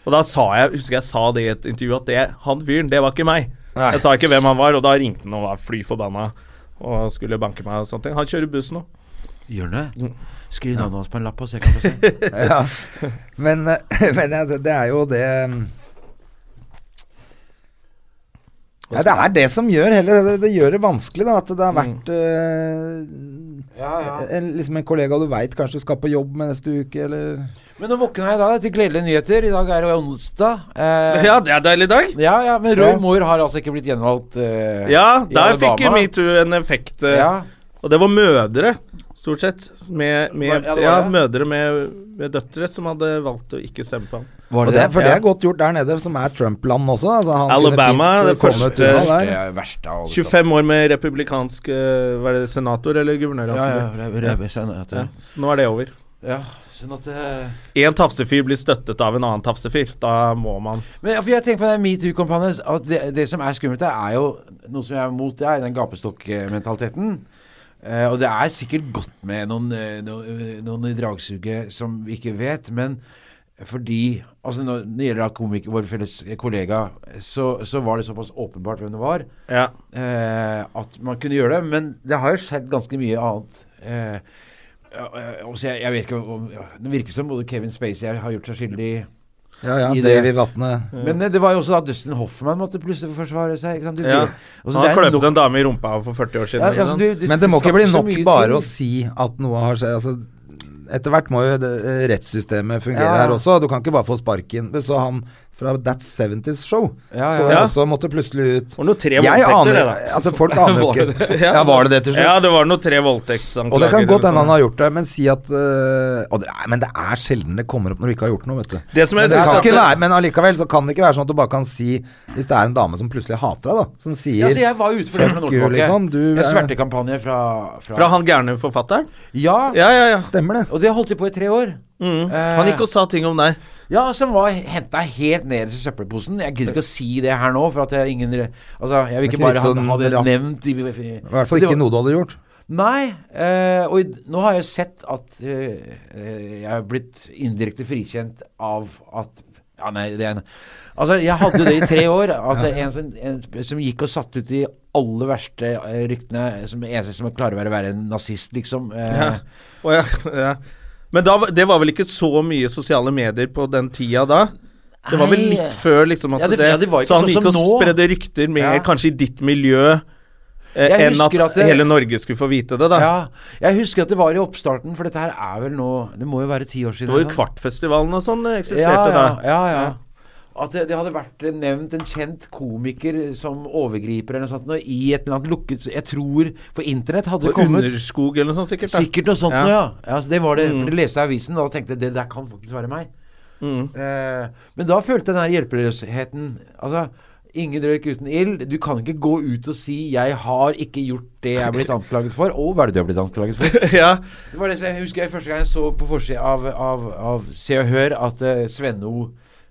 B: Og da sa jeg, husker jeg sa det i et intervju, at det, han fyren, det var ikke meg.
A: Nei.
B: Jeg sa ikke hvem han var, og da ringte han og var fly forbanna og skulle banke meg og sånne ting. Han kjører buss nå.
C: Gjør det? Skriv navnet hans på en lapp og se hva som skjer.
A: ja. Men, eh, men ja, det, det er jo det mm. ja, Det er det som gjør heller Det, det gjør det vanskelig, da. At det har vært
C: Mm.
A: eh, En, liksom en kollega du veit kanskje skal på jobb med neste uke, eller
C: Men nå våkna jeg da til gledelige nyheter. I dag er det onsdag. Eh,
B: Ja, det er deilig dag.
C: ja, ja, men Roy
A: Ja.
C: Moore har altså ikke blitt gjenvalgt. Eh,
B: Ja,
C: i
B: der
C: Alabama.
B: fikk jo metoo en effekt. eh,
C: Ja.
B: Og det var mødre, stort sett. Med,
C: Var- ja,
B: med,
C: det var
B: ja,
C: det.
B: mødre med, med døtre som hadde valgt å ikke stemme på ham.
A: Og det, For det
B: Ja.
A: er godt gjort der nede, som er Trump-land også. Altså, han kunne
B: Alabama,
A: fint, eh,
B: det
A: kommet
B: første-
A: unna der.
C: Det er verst av alle.
B: 25 år med republikansk eh, Var det senator eller guvernør? han
C: Ja, ja,
B: skulle bli?
C: ja, røve, senat,
B: Ja,
C: ja.
B: Så nå er det over.
C: ja, sånn at eh,
B: Én tafsefyr blir støttet av en annen tafsefyr. Da må man
C: Men ja, for jeg tenker på den metoo-kampanjen at det, det som er skummelt, der, er jo noe som jeg er mot, det er den gapestokkmentaliteten. Eh, og det er sikkert godt med noen, eh, noen, eh, noen i dragsuget som vi ikke vet, men fordi Altså når det gjelder da komiker, vår felles kollega, så, så var det såpass åpenbart hvem det var
B: Ja.
C: eh, at man kunne gjøre det. Men det har jo skjedd ganske mye annet. Eh, ja, eh, altså jeg, jeg vet ikke om Det virker som både Kevin Spacey har gjort seg skyldig
A: Ja, ja,
C: I det.
A: Davy Vatne.
C: men eh, det var jo også da Dustin Hoffman måtte plutselig forsvare seg. Ikke sant? Du,
B: Ja.
C: og så
B: Han
C: Altså, det er
B: kløpet
C: nok-
B: en dame i rumpa for 40 år siden.
C: Ja, altså,
B: eller
C: du-
B: noe.
C: du-
A: Men det må
C: du
A: ikke bli
C: skaper
A: nok
C: så mye
A: bare
C: ting.
A: å si at noe har skjedd. Altså, etter hvert må jo det, eh, rettssystemet fungere
C: Ja, ja.
A: her også. Du kan ikke bare få sparken. Så han fra That 70's Show
C: Ja, ja.
A: så
B: Ja.
A: også måtte plutselig ut.
B: Det var noe tre
A: Jeg
B: voldtekter,
A: aner
B: det, da.
A: Altså, folk aner jo ikke. Ja, var det det til slutt?
B: Ja, det var noe tre voldtektsanklager.
A: Og det kan
B: eller
A: godt
B: noe
A: hende han
B: sånt.
A: har gjort det, men si at øh, og det er, Men det er sjelden det kommer opp når du ikke har gjort noe, vet du.
B: Det som
A: men,
B: jeg
A: det
B: synes
A: kan ikke
B: at det-
A: være, men allikevel så kan det ikke være sånn at du bare kan si Hvis det er en dame som plutselig hater deg, da, som sier
C: Ja, så jeg var ute for det for noen år
A: Fuck you,
C: tilbake.
A: liksom. Du
C: en
A: er-
C: svertekampanje fra, fra,
B: Fra han gærne forfatteren?
C: Ja,
B: Ja, ja, ja.
A: Stemmer det?
C: og det holdt de på i tre år.
B: Mm.
C: Eh,
B: Han gikk og sa ting om deg.
C: Ja, som var henta helt ned i søppelposen. Jeg gidder ikke å si det her nå, for at jeg ingen re- Altså, jeg vil ikke
A: Men
C: bare
A: litt
C: ha,
A: sånn
C: ha det
A: rap-
C: nevnt i,
A: I hvert fall ikke noe du hadde gjort.
C: Nei, eh, og i, d- nå har jeg sett at eh, eh, jeg har blitt indirekte frikjent av at Ja, nei, det er en Altså, jeg hadde jo det i tre år. At det er en, som, en som gikk og satte ut de aller verste eh, ryktene, som eneste som klarer å være verre enn nazist, liksom. Eh,
B: Ja. Å, ja, ja. Men da, var- det var vel ikke så mye sosiale medier på den tida da? Det var vel
C: Nei.
B: litt før liksom at
C: Ja,
B: det,
C: det- ja, det var ikke
B: Så han
C: sånn
B: gikk og
C: som nå.
B: spredde rykter med
C: Ja.
B: kanskje i ditt miljø eh,
C: Jeg
B: enn at,
C: husker at det-
B: hele Norge skulle få vite det, da.
C: ja. Jeg husker at det var i oppstarten, for dette her er vel nå Det må jo være ti år
B: Det
C: siden.
B: var jo
C: eller noe.
B: Kvartfestivalen og sånn eh,
C: ja,
B: eksisterte
C: ja,
B: da.
C: Ja, ja. At det, det hadde vært nevnt en kjent komiker som overgriper eller noe sånt nå, i et eller annet lukket Jeg tror For internett hadde
B: På
C: kommet
B: Underskog eller noe sånt sikkert. Da.
C: Sikkert noe sånt
B: Ja.
C: nå, ja. Mm. ja så det var det. For det leste jeg i avisen, og da tenkte jeg det der kan faktisk være meg. Eh, men da følte jeg den her hjelpeløsheten Altså, ingen røyk uten ild. Du kan ikke gå ut og si 'jeg har ikke gjort det jeg er blitt anklaget for'. Og hva er det du er blitt anklaget for?
B: ja.
C: Det var det som jeg husker jeg første gang jeg så på forsida av, av, av Se og Hør at eh, Svenno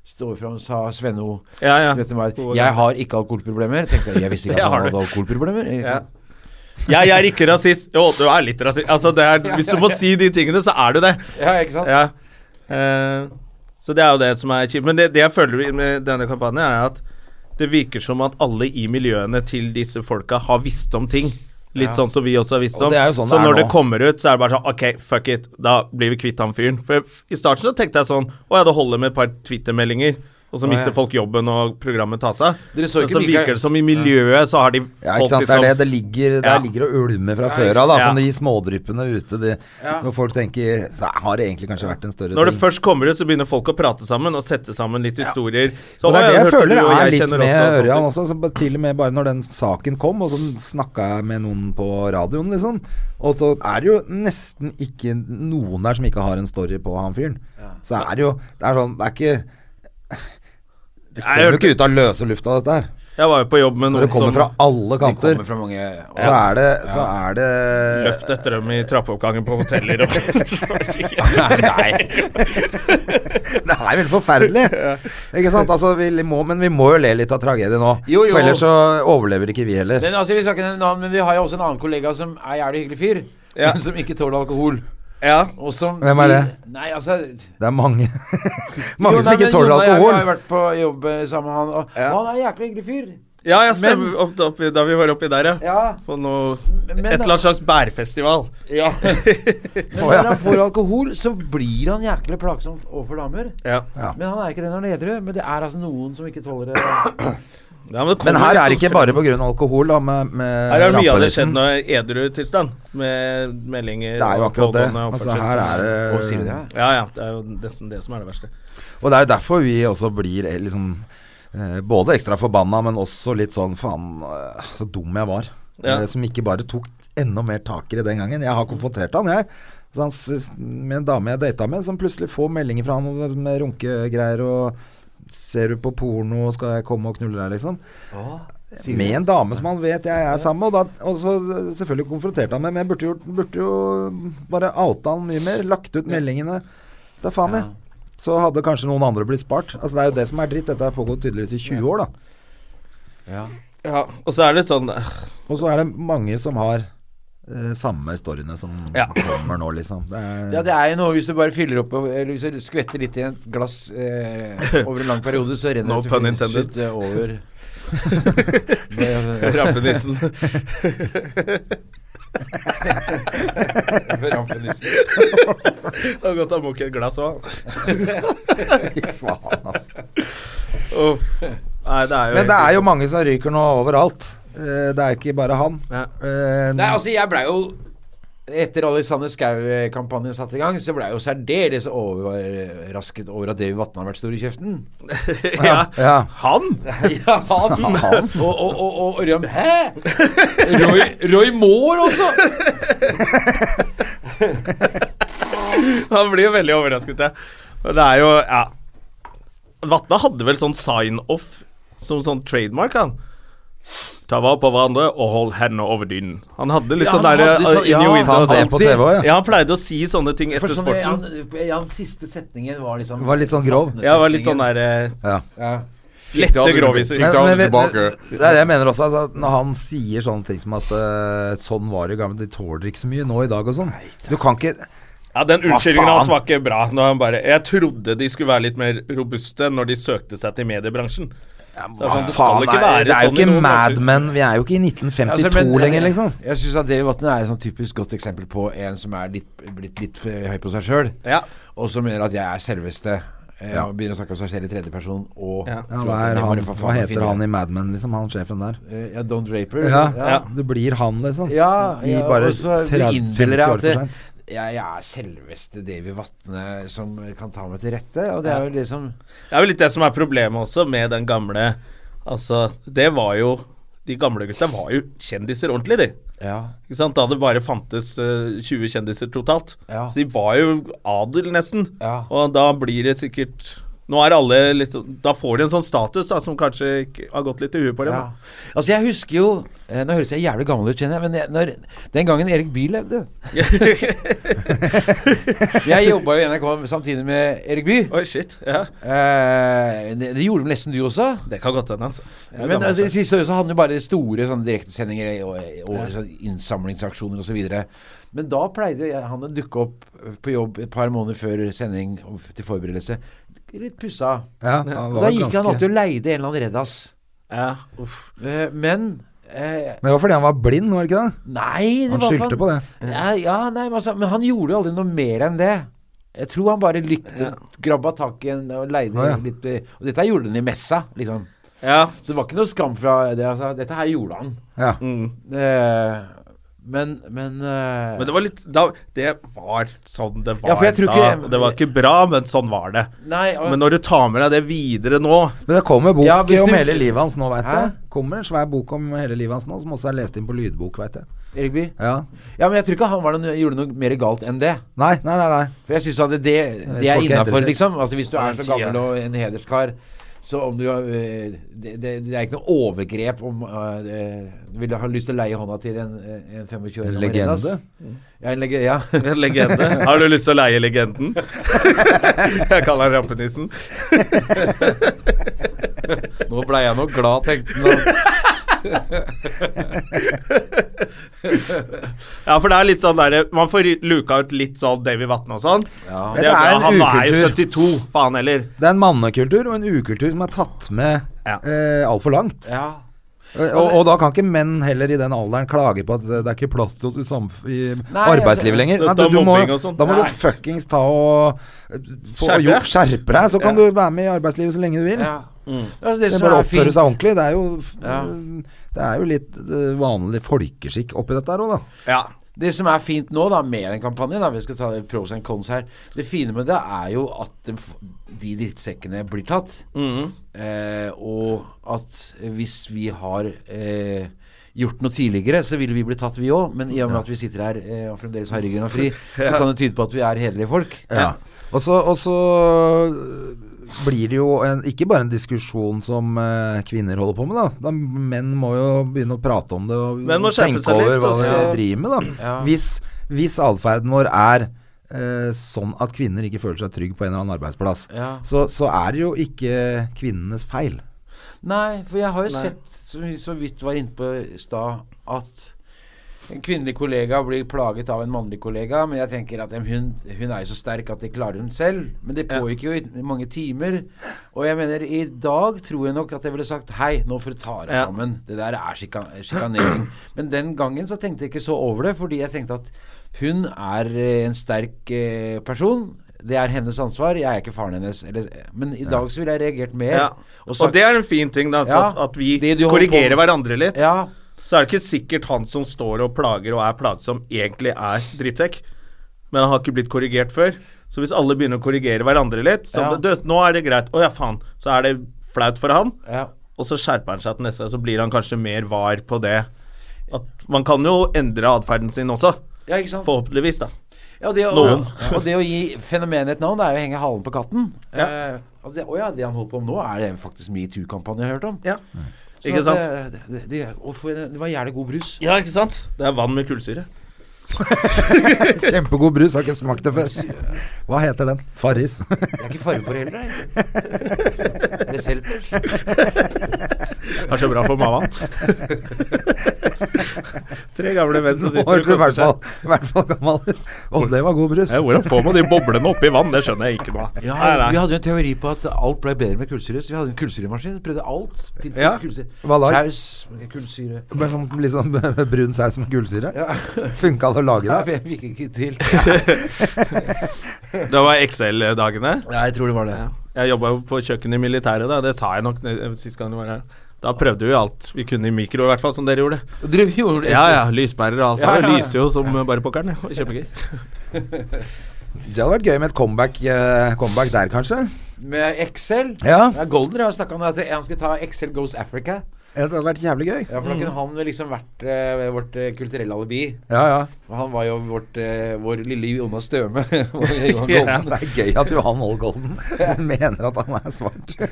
C: står fram og sa Svenno
B: Ja, ja.
C: som heter meg, Jeg har ikke alkoholproblemer. Tenkte jeg, jeg visste
B: Det
C: ikke at
B: har
C: han
B: du.
C: hadde alkoholproblemer.
B: Ja. Jeg, jeg er ikke rasist. Jo, du er litt rasist. Altså, det er, hvis du må si de tingene, så er du det.
C: Ja, ikke sant?
B: Ja. Eh, så det er jo det som er kjipt. Men det, det jeg føler med denne kampanjen, er at det virker som at alle i miljøene til disse folka har visst om ting. Litt sånn som vi også har visst
A: Og
B: om.
A: det er jo sånn
B: så
A: det er
B: når
A: nå.
B: det kommer ut, så er det bare sånn OK, fuck it. Da blir vi kvitt han fyren. For jeg- i starten så tenkte jeg sånn Å ja, det holder med et par twittermeldinger. og så mister folk jobben, og programmet tar seg.
C: Dere så
B: Men
C: ikke
B: så
C: Mikael-
B: virker det som i miljøet så har de
A: Ja,
B: folk
A: ikke sant. Det er det.
B: liksom
A: Det ligger, det
B: Ja.
A: ligger og ulmer fra før av, da.
B: Ja.
A: Sånn de smådryppene ute. De, Når folk tenker så Har det egentlig kanskje vært en større
B: Når det
A: ting?
B: først kommer ut, så begynner folk å prate sammen og sette sammen litt historier.
A: Men
B: Så,
A: det er
B: «Å,
A: det jeg
B: hørte
A: føler
B: du, og
A: er
B: jeg
A: litt
B: kjenner
A: med
B: også», altså, og sånt.
A: Ørjan også. Så ba- til og med bare når den saken kom, og så snakka jeg med noen på radioen, liksom. Og så er det jo nesten ikke noen der som ikke har en story på han fyren. Så er det jo Det er sånn Det er ikke Det
B: Jeg
A: kommer jo
B: hørte-
A: ikke ut av løse lufta, dette her.
B: Jeg var jo på jobb med
A: Når
B: noen
A: det kommer
B: som
A: fra alle
C: De
A: kanter,
C: kommer fra mange og-
A: så er det Så er det
B: løft etter dem i trappeoppgangen på hoteller og
C: Nei.
A: Det er veldig forferdelig. Ikke sant? Altså, vi må, men vi må jo le litt av tragedie nå.
C: Jo, jo.
A: For ellers så overlever ikke vi heller.
C: Men, altså, vi skal ikke nevne navn, men vi har jo også en annen kollega som er jævlig hyggelig fyr,
B: Ja.
C: men som ikke tåler alkohol.
B: Ja.
C: Og som
A: Hvem er det?
C: Nei, altså
A: Det er mange Mange
C: Jo,
A: som
C: nei,
A: ikke
C: men
A: tåler
C: Jon og jeg, Vi
A: alkohol.
C: har jo vært på jobb eh, sammen med han, og, og han er en jæklig hyggelig fyr.
B: ja, jeg stemmer
C: Men-
B: ofte oppi, da vi var oppi der, ja.
C: Ja.
B: På noe Et
C: Men-
B: eller annet slags bærfestival.
C: ja. men når han får alkohol, så blir han jæklig plagsom overfor damer.
B: Ja.
C: Men han er ikke det når han er edru. Men det er altså noen som ikke tåler det.
B: Ja, det kommer
A: Men her
B: litt
A: er det
B: sånn
A: ikke
B: frem.
A: bare pga. alkohol, da, med, med
B: Her har mye av det skjedd
A: rampelysten.
B: når edru tilstand, med meldinger
A: Det er jo akkurat det. Altså, her er
C: Å, sier du
A: det
C: det?
B: Ja, ja. Det er jo nesten det som er det verste.
A: Og det er jo derfor vi også blir eh, liksom eh, både ekstra forbanna, men også litt sånn faen eh, så dum jeg var.
B: Ja.
A: Eh, Som ikke bare tok enda mer tak i det den gangen. Jeg har konfrontert han, jeg. Så han, s- med en dame jeg data med, som plutselig får meldinger fra han med runkegreier og Ser du på porno, skal jeg komme og knulle deg, liksom?
C: sier
A: Med en dame som han vet jeg er sammen med, og, da, og så eh, selvfølgelig konfronterte han meg, men jeg burde, gjort, burde jo bare outa han mye mer. Lagt ut meldingene. Da faen, jeg. Så hadde kanskje noen andre blitt spart. Altså Det er jo det som er dritt. Dette har pågått tydeligvis i 20 år, da.
B: Ja, Og så er det sånn øh,
A: Og så er det mange som har eh, samme storyene som
B: Ja.
A: kommer nå, liksom. Det er,
C: Ja, det er jo noe hvis du bare fyller opp og- Eller hvis du skvetter litt i et glass eh, over en lang periode, så renner
B: No
C: det
B: pun
C: til
B: intended.
C: slutt, eh, over. Det-
B: rampenissen.
C: over rampenissen.
B: Det var godt han mokket et glass òg.
A: Fy faen, altså.
B: Uff. Nei, det er jo
A: Men det er
B: egentlig
A: jo mange som ryker nå overalt. Eh, Det er jo ikke bare han.
B: Ja.
A: Eh,
C: Nei, altså, jeg blei jo Etter Alexander Schou-kampanjen satte i gang, så blei jeg jo særdeles overrasket over at Davy Vatne har vært stor i kjeften.
B: sånn. ja.
C: altså-
A: ja.
B: Han?
C: Ja, han! og, og, og, og Ørjan Hæ? Roy, Roy Moore også!
B: Han blir jo veldig overrasket, ja. Og det er jo Ja. Vatne hadde vel sånn sign-off som sånn trademark, han. Ta vare på hverandre og hold hendene over dynen. Han hadde litt
C: Ja,
B: sånn
C: han
B: derre
C: hadde sånn- ja. Sa han
A: Han er på TV òg, ja.
B: Ja, han pleide å si sånne ting
C: For
B: etter
C: sånn, ja,
B: sporten.
C: han, ja, han siste setningen var liksom
A: Var litt sånn grov.
B: Ja, det var litt sånn der eh,
A: ja.
C: ja.
B: lette groviser.
A: Men- men vet- Det er det jeg mener også. Altså, at når han sier sånne ting som at eh, sånn var det i gamle De tåler ikke så mye nå i dag og sånn. Du kan ikke
B: Ja, den unnskyldningen
A: faen?
B: hans var ikke bra. Når han bare, jeg trodde de skulle være litt mer robuste når de søkte seg til mediebransjen. Så det er sånn, det skal
A: Ah, Faen,
B: ikke
A: nei,
B: være
A: det er jo
B: sånn i
A: ikke
B: noen
A: Mad
B: bransjer.
A: Men. Vi er jo ikke i 1952
C: Altså, men-
A: lenger, liksom.
C: Jeg syns at Davy Vatne er et sånn typisk godt eksempel på en som er litt, blitt litt for høy på seg sjøl,
B: Ja.
C: og som mener at jeg er selveste. eh,
A: Ja.
C: Og begynner å snakke om seg selv i tredjeperson og
B: Ja.
A: Ja,
C: tror
A: hva,
C: at
A: er
C: det må
A: han,
C: de for
A: hva
C: faen
A: heter
C: finne.
A: han i Mad Men, liksom? Han sjefen der.
C: Eh, Ja, Don Draper.
A: Ja,
C: ja.
A: Du blir han, liksom.
C: Ja,
A: I
C: ja,
A: bare
C: og så
A: 30-50
C: innbiller jeg
A: år for
C: at det-
A: sent.
C: Jeg, jeg er selveste Davy Vatne som kan ta meg til rette, og det er jo liksom
B: Det er vel litt det som er problemet også med den gamle Altså, det var jo De gamle gutta var jo kjendiser ordentlig, de.
C: Ja.
B: Ikke sant? Da det bare fantes eh, 20 kjendiser totalt.
C: Ja.
B: Så de var jo adel, nesten.
C: Ja.
B: Og da blir det sikkert Nå er alle litt sånn Da får de en sånn status da som kanskje ikke har gått litt i huet på dem.
C: ja.
B: da.
C: Altså, jeg husker jo eh, Nå høres jeg jævlig gammel ut, kjenner jeg, men jeg, når, den gangen Erik Bye levde Jeg jobba i NRK samtidig med Erik Bye.
B: Oi, shit. Ja.
C: Eh, det, det gjorde vel nesten du også?
B: Det kan godt hende, altså. Jeg er
C: Men
B: gammel, så.
C: altså, i siste året så hadde vi bare store sånne direktesendinger og, og, sånn innsamlingsaksjoner osv. Men da pleide jeg, han å dukke opp på jobb et par måneder før sending og f- til forberedelse. Litt pussa.
A: Ja, han
C: Og
A: var
C: da gikk han
A: ganske-
C: alltid og leide en eller annen Reddas.
B: ja, uff.
C: Eh, Men eh,
A: Men det var fordi han var blind, var det ikke det?
C: Nei, det
A: Han
C: var
A: skyldte på det.
C: Ja, ja, nei, men, altså, men han gjorde jo aldri noe mer enn det. Jeg tror han bare likte grabba tak i en og leide litt eh, Og dette gjorde han i messa, liksom.
B: Ja.
C: Så det var ikke noe skam fra det. Altså. Dette her gjorde han.
A: Ja.
C: Eh, men men, eh,
B: Men det var litt da, Det var sånn det var
C: Ja, for jeg tror ikke-
B: da. Det var ikke bra, men sånn var det.
C: Nei, og-
B: Men når du tar med deg det videre nå
A: Men det kommer bok
C: Ja, hvis
A: om
C: du-
A: hele livet hans nå, veit
C: Hæ?
A: jeg. Kommer en svær bok om hele livet hans nå, som også er lest inn på lydbok, veit jeg.
C: Erik Bye?
A: Ja.
C: Ja, men jeg tror ikke han var noe, gjorde noe mer galt enn det.
A: Nei, nei, nei. nei.
C: For jeg syns at det, det, det er
A: folk er
C: innafor,
A: interessert.
C: liksom. Altså Hvis du er så
B: tida.
C: gammel og en hederskar, så om du har, eh, det, det, det er ikke noe overgrep om eh, det- Du ville ha lyst til å leie hånda til en, eh, en 25 år
A: En
C: gammel
A: legende.
C: Renas. Ja, en legende. Ja.
B: En legende. Har du lyst til å leie legenden? Jeg kaller han rampenissen.
C: Nå blei jeg nå glad, tenkte han.
B: Ja, for det er litt sånn der, Man får luka ut litt sånn Davy Vatne og sånn.
A: Men
B: Det er bra.
A: en
B: Han er jo
A: ukultur.
B: 72, faen heller.
A: Det er en mannekultur og en ukultur som er tatt med
B: Ja.
A: eh, altfor langt.
C: Ja.
A: Eh, Og, og da kan ikke menn heller i den alderen klage på at det det er ikke plass til oss i, samf i
C: Nei,
A: arbeidslivet
C: altså,
A: lenger.
B: dette
A: Nei, du,
B: er
A: du må,
B: mobbing og sånt.
A: da må
C: Nei.
A: du fuckings ta og eh, få
B: Skjerpe.
A: gjort, skjerpe deg, så kan du være med i arbeidslivet så lenge du vil.
C: ja. Altså, det
A: Det er
C: som
A: bare å
C: er
A: oppføre
C: fint
A: seg ordentlig. Det er jo, f-
C: Ja.
A: det er jo litt eh, vanlig folkeskikk oppi dette her òg, da.
B: Ja.
C: Det som er fint nå da med den kampanjen, da, vi skal ta det pros and cons her Det fine med det er jo at de f- de drittsekkene blir tatt. eh, og at hvis vi har eh, gjort noe tidligere, så ville vi bli tatt, vi òg. Men i og med at vi sitter her eh, og fremdeles har ryggen og fri, så kan det tyde på at vi er hederlige folk.
A: Og så, og så øh, blir det jo en, ikke bare en diskusjon som eh, kvinner holder på med, da. da. Menn må jo begynne å prate om det og
B: Menn må skjerpe
A: tenke
B: seg
A: over
B: litt,
A: hva
B: altså. og
A: vi
B: så-
A: driver med, da.
C: Ja.
A: Hvis, hvis atferden vår er eh, sånn at kvinner ikke føler seg trygg på en eller annen arbeidsplass,
C: Ja.
A: så, så er det jo ikke kvinnenes feil.
C: Nei, for jeg har jo sett, som vi så vidt var inne på i stad, at en kvinnelig kollega blir plaget av en mannlig kollega, men jeg tenker at em, hun, hun er jo så sterk at det klarer hun selv. Men det pågikk jo i, i mange timer. Og jeg mener, i dag tror jeg nok at jeg ville sagt hei, nå får du ta deg
B: Ja.
C: sammen. Det der er sjika- sjikanering. Men den gangen så tenkte jeg ikke så over det, fordi jeg tenkte at hun er eh, en sterk eh, person. Det er hennes ansvar, jeg er ikke faren hennes. Eller, men i dag så ville jeg reagert mer.
B: ja. Og,
C: sagt-
B: det er en fin ting, da. Så
C: Ja.
B: at, at vi
C: Det du holder
B: korrigerer
C: på med.
B: hverandre litt.
C: Ja,
B: Så er det ikke sikkert han som står og plager og er plagsom, egentlig er drittsekk. Men han har ikke blitt korrigert før. Så hvis alle begynner å korrigere hverandre litt så,
C: Ja.
B: du, Nå er det greit. Å ja, faen. Så er det flaut for han.
C: ja.
B: Og så skjerper han seg til neste gang, så blir han kanskje mer var på det. At man kan jo endre atferden sin også.
C: Ja, ikke sant?
B: Forhåpentligvis, da.
C: Ja, det å,
B: Noen.
C: og det å gi fenomenet et navn, det er jo å henge halen på katten.
B: Ja.
C: Eh, altså det, å ja, det han holder på med nå, er det faktisk metoo-kampanje jeg har hørt om.
B: Ja.
C: Så
B: Ikke
C: at eh,
B: sant?
C: Det, det, det, og for, det var jævlig god brus.
B: Ja, ikke sant? Det er vann med kullsyre.
A: Kjempegod brus, har ikke smakt det før. Hva heter den? Farris.
C: Jeg er ikke farge på det heller, jeg. Er det seltzer?
B: Det er så bra for mammaen. Tre gamle menn som
A: Nå
B: sitter og
A: hørte du i
B: koser
A: hvert fall,
B: seg.
A: i hvert fall gammel ut. Og det var god brus.
B: Ja, Eh, hvordan får man de boblene oppi vann? Det skjønner jeg ikke noe av.
C: Ja,
B: Nei, nei.
C: vi hadde jo en teori på at alt ble bedre med kullsyre. Så vi hadde en kullsyremaskin. Prøvde alt. Tilsatt
B: Ja.
C: kullsyre.
A: Hva da?
C: Saus med kullsyre.
A: Med sånn liksom, brun saus med kullsyre. Funka det å lage
C: Nei,
A: det?
C: jeg fikk ikke til.
B: Det var Excel-dagene.
C: Ja, jeg tror det var det.
B: Jeg jobba jo på kjøkkenet i militæret, da. Det sa jeg nok ned- sist gang du var her. Da prøvde vi alt vi kunne i mikro, i hvert fall, som dere gjorde.
C: Og Dere gjorde
B: Ja ja, lyspærer og alt
C: Ja,
B: sånt.
C: ja,
B: Det
C: ja.
B: lyste jo som bare pokkeren. det var Kjempegøy.
A: Det hadde vært gøy med et comeback, eh, comeback der, kanskje?
C: Med Excel.
A: Ja.
C: Ja, Golden har snakka om at han skulle ta Excel Goes Africa.
A: Det hadde vært jævlig gøy.
C: Ja, for da kunne han liksom vært eh, vårt eh, kulturelle alibi.
A: Ja, ja.
C: Og han var jo vårt, eh, vår lille Jonas Støme.
B: Ja.
A: Det er gøy at Johan Holgolden mener at han er svart.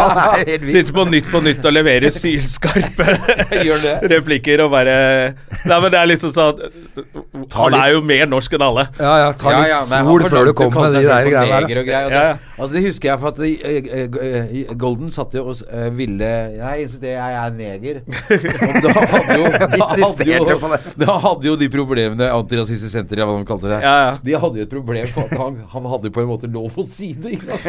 A: Han er helt vild.
B: Sitter på Nytt på Nytt og leverer sylskarpe
C: Gjør det.
B: replikker og bare Nei, men det er liksom sånn Han er jo mer norsk enn alle.
A: Ja, ja, ta litt sol før du kommer med de der greiene der.
C: der. Og greier, og
B: Ja, ja.
C: det, altså, det husker jeg, for at eh, eh, eh, Golden satt jo og s- eh, ville Nei, jeg syns det jeg er neger. Og da hadde jo, da hadde
D: Insisterte
C: jo,
D: på det.
C: da hadde jo de problemene Antirasistisk Senter, eller hva de kalte det,
B: Ja, ja.
C: de hadde jo et problem for at han, han hadde på en måte lov å si det, ikke sant?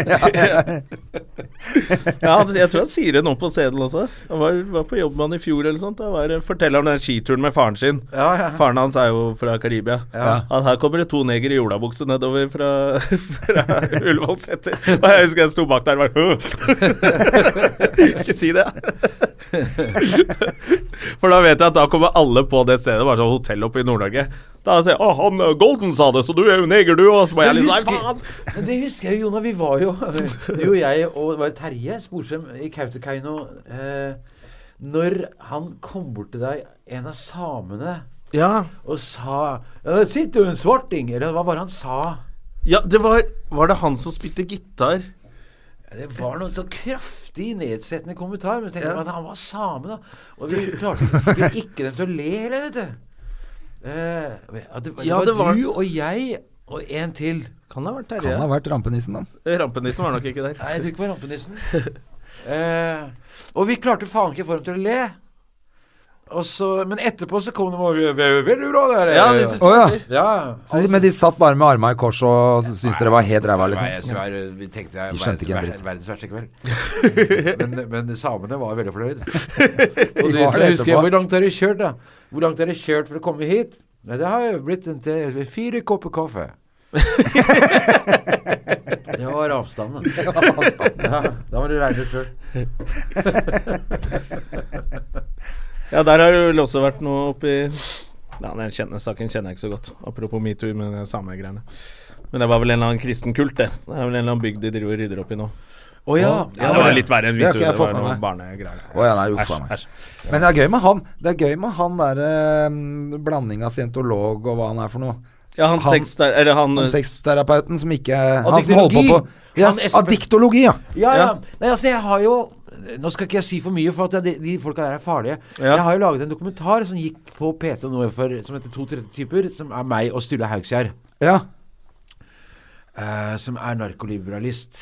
B: Ja, han- jeg tror han sier det nå på sedel også. Han var, var på jobb med han i fjor eller sånt. Da var, det- forteller han den skituren med faren sin.
C: Ja, ja.
B: Faren hans er jo fra Karibia.
C: Ja.
B: At her kommer det to negere i olabukse nedover fra, fra Ullevålseter. Og jeg husker jeg sto bak der og bare «Åh!» Ikke si det. For da vet jeg at da kommer alle på det stedet, bare sånn hotell oppe i Nord-Norge. Da sier jeg 'Å, han eh, Golden sa det, så du er jo neger, du', og så må jeg litt sånn, Nei, faen!
C: Men det husker jeg jo, Jona. Vi var jo Du og jeg og det var Terje Sporsem i Kautokeino eh, Når han kom bort til deg, en av samene,
B: Ja.
C: og sa ja, 'Der sitter jo en svarting!' Eller hva var det han sa?
B: ja, det var Var det han som spilte gitar?
C: Det var noe så kraftig nedsettende kommentar. Men så tenkte jeg at han var same, da. Og vi klarte vi ikke dem til å le heller, vet du. Eh, at det, det,
B: Ja,
C: var
B: det var-
C: du og jeg og en til.
B: Kan det ha vært
A: Han
B: Terje?
A: har vært rampenissen, da.
B: Rampenissen var nok ikke der.
C: Nei, jeg tror ikke det var rampenissen. eh, og vi klarte faen ikke å få dem til å le. Og så, men etterpå så kom de og ve- ve- Veldig bra, det her.
B: Ja, de syntes det
A: Å,
B: var
A: ja.
B: artig.
C: ja.
A: Så de- Men de satt bare med arma i kors og syntes dere var helt ræva,
C: Nei, jeg
A: liksom.
C: svær, vi tenkte jeg,
A: De skjønte ikke en dritt.
C: Verdens verste kveld. men, men samene var veldig fornøyd.
A: De
C: Og
A: var
C: de som
A: det
C: husker jeg,
A: etterpå.
C: Hvor langt har dere kjørt, da? Hvor langt har dere kjørt for å komme hit? Nei, det har jo blitt en til fire kopper kaffe. det var avstanden. da. Ja, da må du regne ut sjøl.
B: Ja, der har det vel også vært noe oppi ja, Den kjenne, saken kjenner jeg ikke så godt. Apropos metoo med de samegreiene. Men det var vel en eller annen kristen kult, det. Det er vel en eller annen bygd de driver og rydder opp i nå.
C: Å ja.
B: Ja, det var litt verre enn
A: Det har
B: metoo.
A: ikke jeg
B: Det var
A: fått med
B: noen
A: meg.
B: barnegreier.
A: Å, ja, nei, uff,
B: Æsj,
A: faen meg.
B: æsj.
A: Men det er gøy med han. Det er gøy med han derre um, blanding av scientolog og hva han er for noe.
B: Ja, han,
A: Han-
B: sex der Eller han,
A: Han sexterapeuten som ikke Han som holder
C: Adiktologi.
A: på på ja,
C: Han esper-
A: Adiktologi, ja.
C: Ja, ja.
B: Ja.
C: Nei, altså, jeg har jo Nå skal ikke jeg si for mye, for at de, de folka der er farlige.
B: Ja.
C: Jeg har jo laget en dokumentar som gikk på PT nå for, som heter 230 typer, som er meg og Sturle Haugskjær,
A: Ja.
C: eh, som er narkoliberalist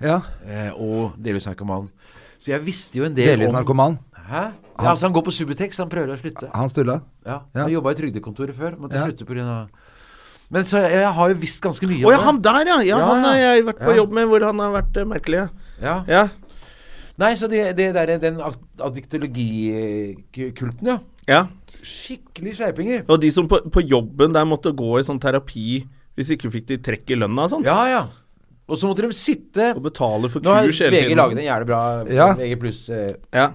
A: ja.
C: eh, og delvis narkoman. Så jeg visste jo en del
A: Delvis
C: om
A: narkoman.
C: Hæ? Ja, altså, han går på Subutex, han prøver å slutte.
A: Han Sturle.
C: Ja.
A: Ja.
C: Han jobba i Trygdekontoret før, måtte
A: Ja.
C: slutte pga. Men så jeg har jo visst ganske mye
B: Å ja, han der, ja! ja,
C: Ja,
B: Han har
C: ja.
B: jeg vært på
C: Ja.
B: jobb med, hvor han har vært eh, merkelig.
C: Ja.
B: Ja. ja.
C: Nei, så det, det der, den adiktologikulten, ja.
B: ja.
C: Skikkelig sleipinger.
B: Og de som på, på jobben der måtte gå i sånn terapi hvis ikke fikk de trekk i lønna og sånn.
C: Ja, ja. Og så måtte de sitte
B: Og betale for
C: Nå har
B: kurs hele
C: VG laget
B: tiden.
C: en jævlig bra
A: Ja.
C: VG pluss eh,
B: Ja.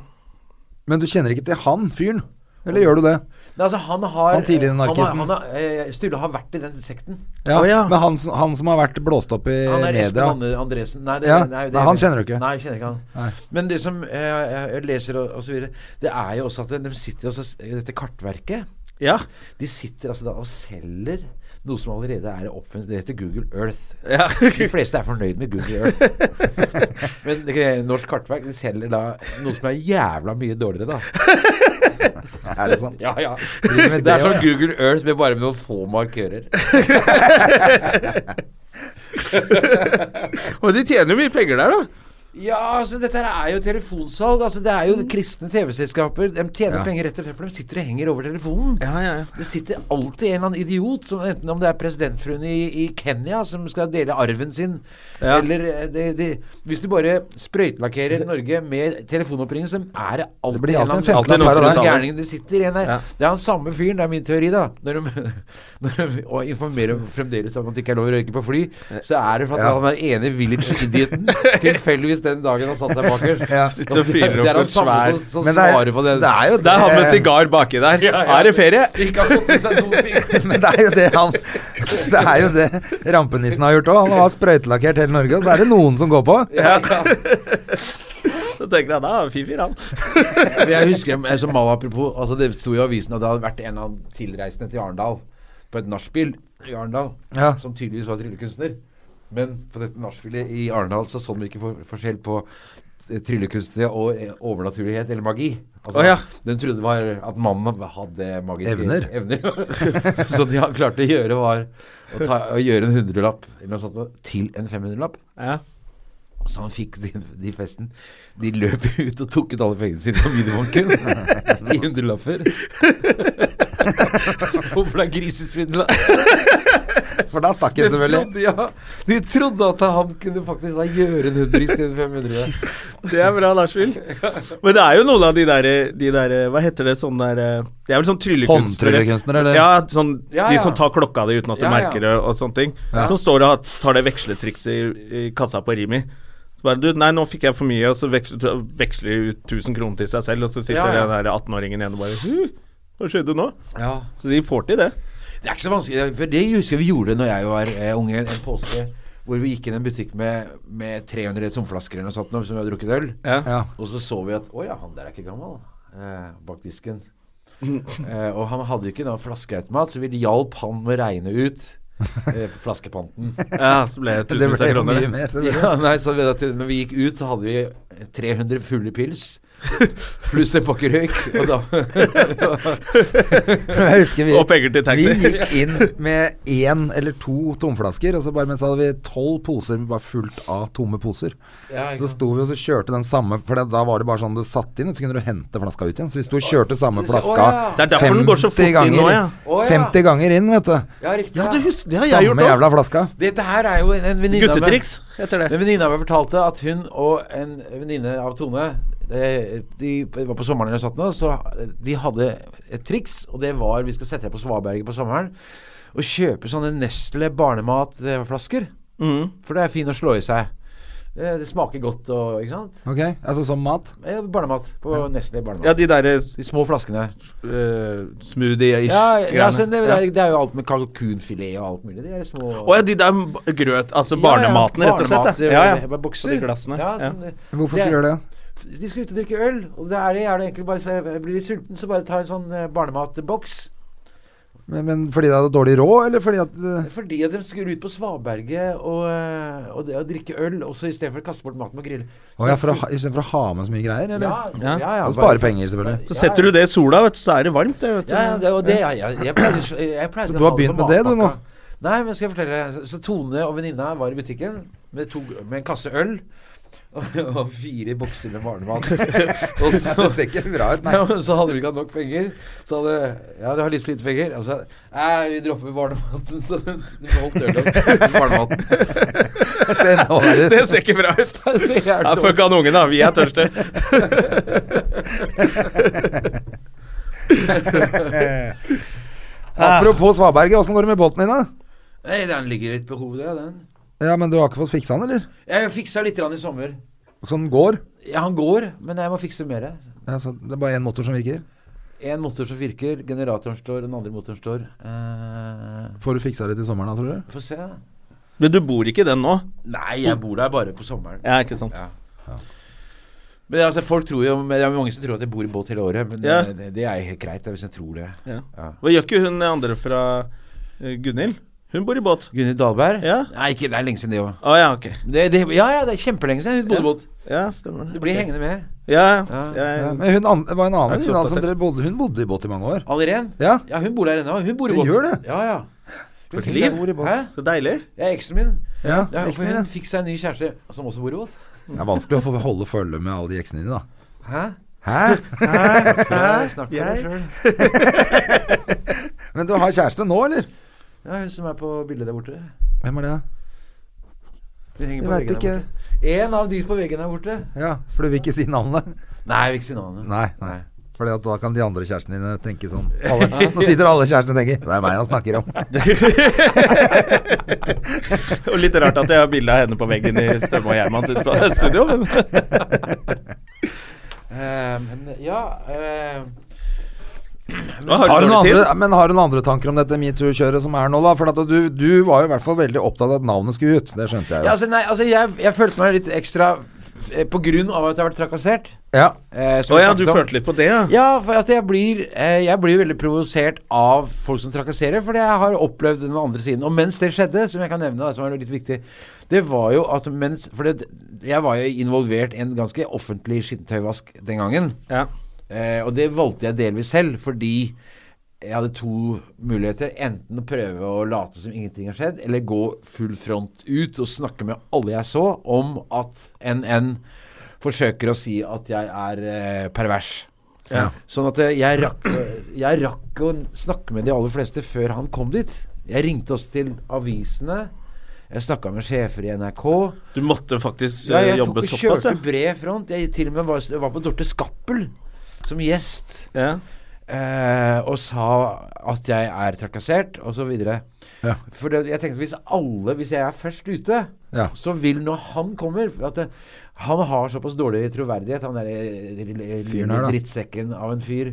A: Men du kjenner ikke til han fyren? Eller gjør du det?
C: Nei, altså, han har
A: Han tidligere narkisten.
C: Han har, han har, eh, Sturle har vært i den sekten.
A: Ja.
B: Å, ja.
A: Men han, som- han som har vært blåst opp i
C: Han er Espen
A: Eh, media.
C: Andre- Andresen. Nei,
A: Ja. Nei, han kjenner du ikke.
C: Nei, jeg kjenner ikke han. Men det som eh, jeg jeg leser og, og så videre, det er jo også at de sitter også, s- i dette kartverket
B: ja.
C: De sitter altså da og selger noe som allerede er offensivt. Det heter Google Earth.
B: Ja.
C: De fleste er fornøyd med Google Earth. Men det er Norsk Kartverk de selger da noe som er jævla mye dårligere, da.
A: Er det sant?
C: Ja, ja.
A: med
C: Det
A: det
C: er sånn Google Earth med bare med noen få markører.
B: Og de tjener jo mye penger der, da.
C: Ja, altså dette her er jo telefonsalg. Altså Det er jo kristne TV-selskaper. De tjener penger rett og slett, for de sitter og henger over telefonen.
B: Ja, ja, ja.
C: Det sitter alltid en eller annen idiot, som, enten om det er presidentfruen i, i Kenya som skal dele arven sin,
B: Ja.
C: eller eh, det, det, Hvis du bare sprøytelakkerer Norge med telefonoppringning, så er det alltid,
A: blir alltid en
C: eller
B: femtelapp
C: annen-
B: her og der.
C: noen gærning det sitter en der.
B: Ja.
C: Det er han samme fyren, det er min teori, da. Når de, når de og informerer fremdeles om at det ikke er lov å røyke på fly, så er det for at
A: Ja.
C: han er ene village-idioten tilfeldigvis den dagen han satt der bakerst.
A: Ja.
B: Sitter og fyrer
C: Det er
B: opp
C: han
B: et
C: samme
B: svær
C: som, som
A: Men det er-
C: svarer på det.
A: det er jo
B: Det er han med sigar baki der.
C: Ja, ja.
B: Er det ferie?
C: Ikke har fått i seg noen ting.
A: Men det er jo det han Det er jo det rampenissen har gjort òg. Han har sprøytelakkert hele Norge, og så er det noen som går på.
C: Ja, ja.
B: Da tenker jeg da er Fifi han.
C: Men jeg husker jeg- som mal apropos altså Det sto i avisen at det hadde vært en av tilreisende til Arendal på et nachspiel i Arendal,
A: Ja.
C: som tydeligvis var tryllekunstner. Men på dette nachspielet i Arendal så så de ikke for, forskjell på eh, tryllekunstnere og eh, overnaturlighet eller magi. Altså,
B: Å, ja.
C: Den trodde det var at mannen hadde magiske
A: Evner.
C: evner. så det han klarte å gjøre, var å, ta, å gjøre en hundrelapp eller noe sånt, til en 500-lapp.
B: Ja.
C: Så han fikk de, de festen. De løp ut og tok ut alle pengene sine på minibanken i hundrelapper. Og ble grisesvindla.
A: For da stakk den selvfølgelig.
C: De trodde, ja, de trodde at han kunne faktisk da gjøre en hundre istedenfor 500.
B: Det er bra, Lars-Vil. Men det er jo noen av de der, de der Hva heter det sånn der Det er vel sånn tryllekunstnere.
A: Håndtryllekunstnere, eller?
B: Ja, sånn,
C: Ja,
B: de
C: ja.
B: som tar klokka di uten at du
C: Ja, ja.
B: merker det, og sånne ting. Som står og har- tar det veksletrikset i, i kassa på Rimi. Så bare du, nei, nå fikk jeg for mye, og så veksler, veksler de ut 1000 kroner til seg selv, og så sitter
C: Ja, ja.
B: den der 18-åringen igjen og bare «Hu, Hva skjedde nå?
C: Ja.
B: Så de får til det.
C: Det er ikke så vanskelig. For det husker jeg vi gjorde når jeg var eh, unge, en påske hvor vi gikk inn i en butikk med, med 300 tomflasker eller noe sånt nå, som vi hadde drukket øl.
A: Ja.
C: Og så så vi at Å ja, han der er ikke gammel. Eh, bak disken. Eh, og han hadde jo ikke da flaskeautomat, så vi hjalp han med å regne ut eh, flaskepanten.
B: Ja, så ble det
A: Det
B: tusenvis
A: ble
B: av
A: jo
B: kroner.
A: mye mer, selvfølgelig.
C: Ja, nei, så ved at når vi gikk ut, så hadde vi 300 fulle pils pluss en pakke røyk. Og da
A: Jeg husker vi,
B: Og penger til taxi.
A: Vi gikk inn med én eller to tomflasker, og så bare mens hadde vi tolv poser bare fullt av tomme poser.
C: Ja, ikke
A: så
C: sant.
A: sto vi og så kjørte den samme, for da var det bare sånn du satte inn, og så kunne du hente flaska ut igjen. Så vi sto og kjørte samme flaska
C: Å, ja.
B: Det er derfor den går så fort inn nå, ja.
C: Å, ja.
A: 50 ganger inn, vet du.
C: Ja, riktig.
B: Ja,
C: Ja,
B: du husker, det har jeg gjort
A: Samme
B: òg.
A: jævla flaska.
C: Dette her er jo en, en venninne av meg-
B: Guttetriks heter det.
C: En venninne av meg fortalte at hun og en venninne av Tone eh, de det var på sommeren eller sånt nå, så de hadde et triks, og det var Vi skal sette deg på svaberget på sommeren og kjøpe sånne Nestle barnematflasker.
B: Mm.
C: For det er fint å slå i seg. Eh, Det smaker godt og Ikke sant?
A: Ok, altså som mat.
C: Eh, Barnemat på Nestle barnemat.
B: Ja, de derre
C: De små flaskene.
B: eh, smoothie-ish
C: Ja, altså, ja, så det,
B: greiene.
C: det,
B: Ja.
C: er, det er jo alt med kalkunfilet og alt mulig. De er små
B: Å ja, de der b- grøt, altså
C: Ja,
B: barnematen, rett og slett.
C: barnemat,
B: Ja,
C: eh,
B: ja.
C: Bokser.
B: Og de glassene.
C: Ja,
B: Ja.
C: sånn, eh,
A: Hvorfor
C: det-
A: skulle du gjøre det?
C: De skal ut og drikke øl, og det er det gjerne egentlig bare så jeg blir litt sulten, så bare ta en sånn eh, barnematboks.
A: Men, men fordi de hadde dårlig råd, eller fordi at eh,
C: Fordi at de skulle ut på Svaberget og, eh, og, det- og drikke øl, og så istedenfor å kaste bort maten og grille.
A: Å ja, for å ha- Istedenfor å ha med så mye greier, eller?
C: Ja, ja, ja,
A: Og
C: bare-
A: spare penger, selvfølgelig.
B: Så setter du det i sola, vet du, så er det varmt. Det, vet du.
C: Ja, ja, det, og det jeg, jeg, jeg pleide, jeg pleide
A: Så
C: å
A: du har
C: ha det på
A: begynt med det, du, nå?
C: matpakka. Nei, men skal jeg fortelle deg. Så Tone og venninna var i butikken med, to, med en kasse øl og, og fire bokser med barnemat. og så,
A: Det ser ikke bra ut, nei.
C: Ja, men så hadde vi ikke hatt nok penger. Så hadde Ja, du har litt for lite penger. Og så Nei, vi dropper barnematen. Så de beholdt ølet og barnematen.
A: Se, nå er det
B: det ser ikke bra ut.
C: Det er
B: Ja,
C: dårlig.
B: Fuck han ungen, da. Vi er tørste.
A: Apropos Svaberget, åssen går det med båten din, da?
C: Nei, den ligger litt på hodet, ja, den.
A: Ja, men du har ikke fått fiksa den, eller?
C: Jeg fiksa litt grann i sommer.
A: Så den går?
C: Ja, han går, men jeg må fikse mer.
A: Ja, så det er bare én motor som virker?
C: En motor som virker, generatoren står, den andre motoren står. Eh,
A: Får du fiksa det til sommeren, da, tror du?
C: Få se, da.
B: Men du bor ikke i den nå?
C: Nei, jeg bor der bare på sommeren.
B: Ja, ikke sant.
C: Ja. Men altså, folk tror jo men Det er mange som tror at jeg bor i båt hele året, men
B: Ja.
C: eh, det, det er helt greit det, hvis jeg tror det.
B: Ja.
C: Ja.
B: Hva gjør ikke hun andre fra eh, Gunhild? Hun bor i båt.
C: Gunhild Dahlberg?
B: Ja.
C: Nei, ikke, det er lenge siden det òg.
B: Å ja, ok.
C: Det, det, ja, ja, det er kjempelenge siden hun bodde i båt.
B: Ja, stemmer
C: Du
B: det.
C: blir hengende med.
B: Ja,
C: Ja.
B: ja.
A: Ja, men hun an det var en annen
B: Jeg er ikke så
A: venninne som
B: oppdatert.
A: dere bodde Hun bodde i båt i mange år.
C: Alleren?
A: Ja.
C: ja, hun bor der ennå. Hun bor i
A: Hun
C: båt.
A: gjør det?
C: Ja, ja. Hun
B: et
C: fikk
B: liv.
C: seg- bor i båt. Hæ?
B: Så deilig.
C: Ja, eksen min.
A: Ja,
C: Ja, for
A: eksene
C: hun
A: dine.
C: fikk seg en ny kjæreste som også bor i båt.
A: Det er vanskelig å få holde følge med alle de eksene dine, da.
C: Hæ?
A: Hæ?
C: Hæ? Snakk med deg sjøl.
A: Men du har kjæreste nå, eller?
C: Ja, hun som er på bildet der borte.
A: Hvem er det?
C: Hun henger
A: Jeg
C: på
A: veit
C: veggen
A: ikke.
C: der borte. En av de på veggen der borte.
A: Ja, For du vil ikke si navnet?
C: Nei, jeg vil ikke si navnet.
A: Nei. nei. Fordi at da kan de andre kjærestene dine tenke sånn alle, Nå sitter alle kjærestene og tenker Det er meg han snakker om.
B: Og litt rart at jeg har bilde av henne på veggen i Stømme og Gjerman sitt på- studio, men
C: Eh, men ja eh,
A: Har du,
B: dårlig
A: noen
B: tid?
A: andre, men har du noen andre tanker om dette metoo-kjøret som er nå, da? For at du, du var jo i hvert fall veldig opptatt av at navnet skulle ut. Det skjønte
C: ja,
A: jeg jo.
C: altså, nei, altså jeg, jeg følte meg litt ekstra eh, på grunn av at jeg har vært trakassert.
A: Ja.
C: eh, som
B: Å
C: vi
B: ja,
C: snakket
B: du
C: om.
B: følte litt på det, ja?
C: Ja, for altså jeg blir eh, Jeg blir veldig provosert av folk som trakasserer, fordi jeg har opplevd den andre siden. Og mens det skjedde, som jeg kan nevne, da, som er litt viktig, det var jo at mens For det, jeg var jo involvert i en ganske offentlig skittentøyvask den gangen.
B: Ja.
C: Eh, og det valgte jeg delvis selv, fordi jeg hadde to muligheter. Enten å prøve å late som ingenting har skjedd, eller gå full front ut og snakke med alle jeg så om at NN forsøker å si at jeg er eh, pervers. Sånn at eh, jeg rakk, jeg rakk å snakke med de aller fleste før han kom dit. Jeg ringte oss til avisene. Jeg snakka med sjefer i NRK.
B: Du måtte faktisk
C: Ja,
B: eh,
C: jeg tok
B: jobbe
C: og
B: såpass,
C: kjørte
B: ja.
C: bred front. Jeg til og med var, var på Dorte Skappel som gjest
B: ja.
C: eh, og sa at jeg er trakassert, osv.
A: Ja.
C: For det, jeg tenkte hvis alle, hvis jeg er først ute,
A: Ja.
C: så vil når han kommer for at det, Han har såpass dårlig troverdighet, han der eh, lille
A: Fyren her, da.
C: drittsekken av en fyr,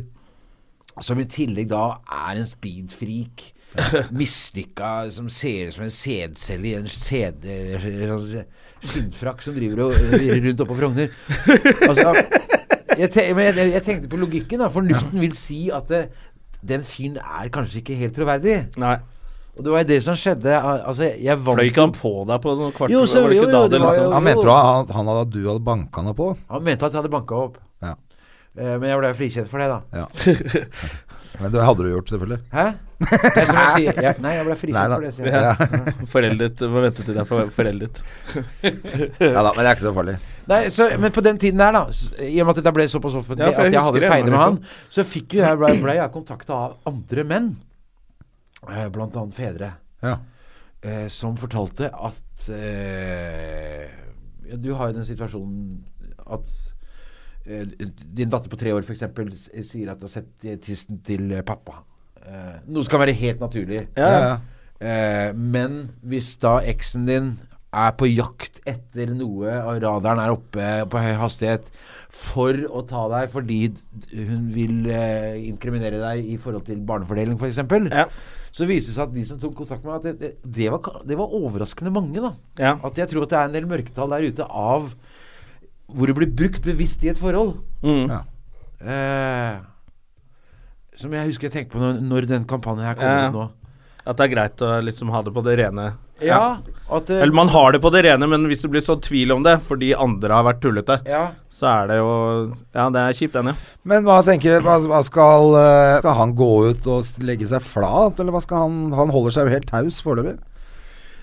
C: som i tillegg da er en speedfreak. Mislykka, som ser ut som en sædcelle i en sæd- sånn skinnfrakk som driver og virrer rundt oppå Frogner. Altså, jeg, te men jeg, jeg tenkte på logikken. da Fornuften vil si at eh, den fyren er kanskje ikke helt troverdig.
B: Nei.
C: Og det var jo det som skjedde. al- Altså, jeg vant
B: Fløy ikke han på deg på noen kvart?
C: Jo, så-
B: var det
C: jo,
B: ikke
C: jo,
B: da
C: det
B: det
C: var
B: liksom
C: jo-
A: Han mente da at han hadde, at du hadde banka han på?
C: Han mente at jeg hadde banka opp.
A: Ja.
C: Eh, men jeg ble jo frikjent for det, da.
A: Ja. Men det hadde du gjort, selvfølgelig.
C: Hæ? Det er som jeg sier. Jeg, nei, jeg ble
A: Nei
C: frikjent
A: da.
C: for det. Sier jeg.
A: Ja.
B: liksom Foreldet. Må vente til det er for- foreldet.
A: ja da, men det er ikke så farlig.
C: Nei, så, men på den tiden her, da, s- i og med at dette ble såpass offentlig
B: Ja, for jeg
C: at jeg
B: husker
C: hadde
B: det
C: feide med
B: ennå, liksom.
C: han, så fikk jo jeg, ble, ble jeg kontakta av andre menn, eh, blant annet fedre,
A: Ja.
C: eh, som fortalte at eh, ja, Du har jo den situasjonen at eh, din datter på tre år f.eks. sier at du har sett eh, tissen til eh, pappa. Eh, noe som kan være helt naturlig.
A: Ja, ja.
C: Eh, men hvis da eksen din er på jakt etter noe, og radaren er oppe på høy hastighet for å ta deg fordi d- hun vil eh, inkriminere deg i forhold til barnefordeling f.eks.,
B: Ja.
C: så viser det seg at de som tok kontakt med meg, at det, det, det, var, ka- det var overraskende mange. da
B: Ja.
C: At jeg tror at det er en del mørketall der ute av hvor det blir brukt bevisst i et forhold.
B: Mm.
A: Ja.
C: Eh, som jeg husker jeg tenkte på når, når den kampanjen her kom
B: Ja, ja.
C: ut nå.
B: At det er greit å liksom ha det på det rene.
C: Ja, at eh,
B: Eller man har det på det rene, men hvis det blir sånn tvil om det fordi andre har vært tullete,
C: ja.
B: så er det jo Ja, det er kjipt, den, ja.
A: Men hva tenker du, hva, hva skal, eh, skal han gå ut og s- legge seg flat, eller hva skal han Han holder seg jo helt taus foreløpig.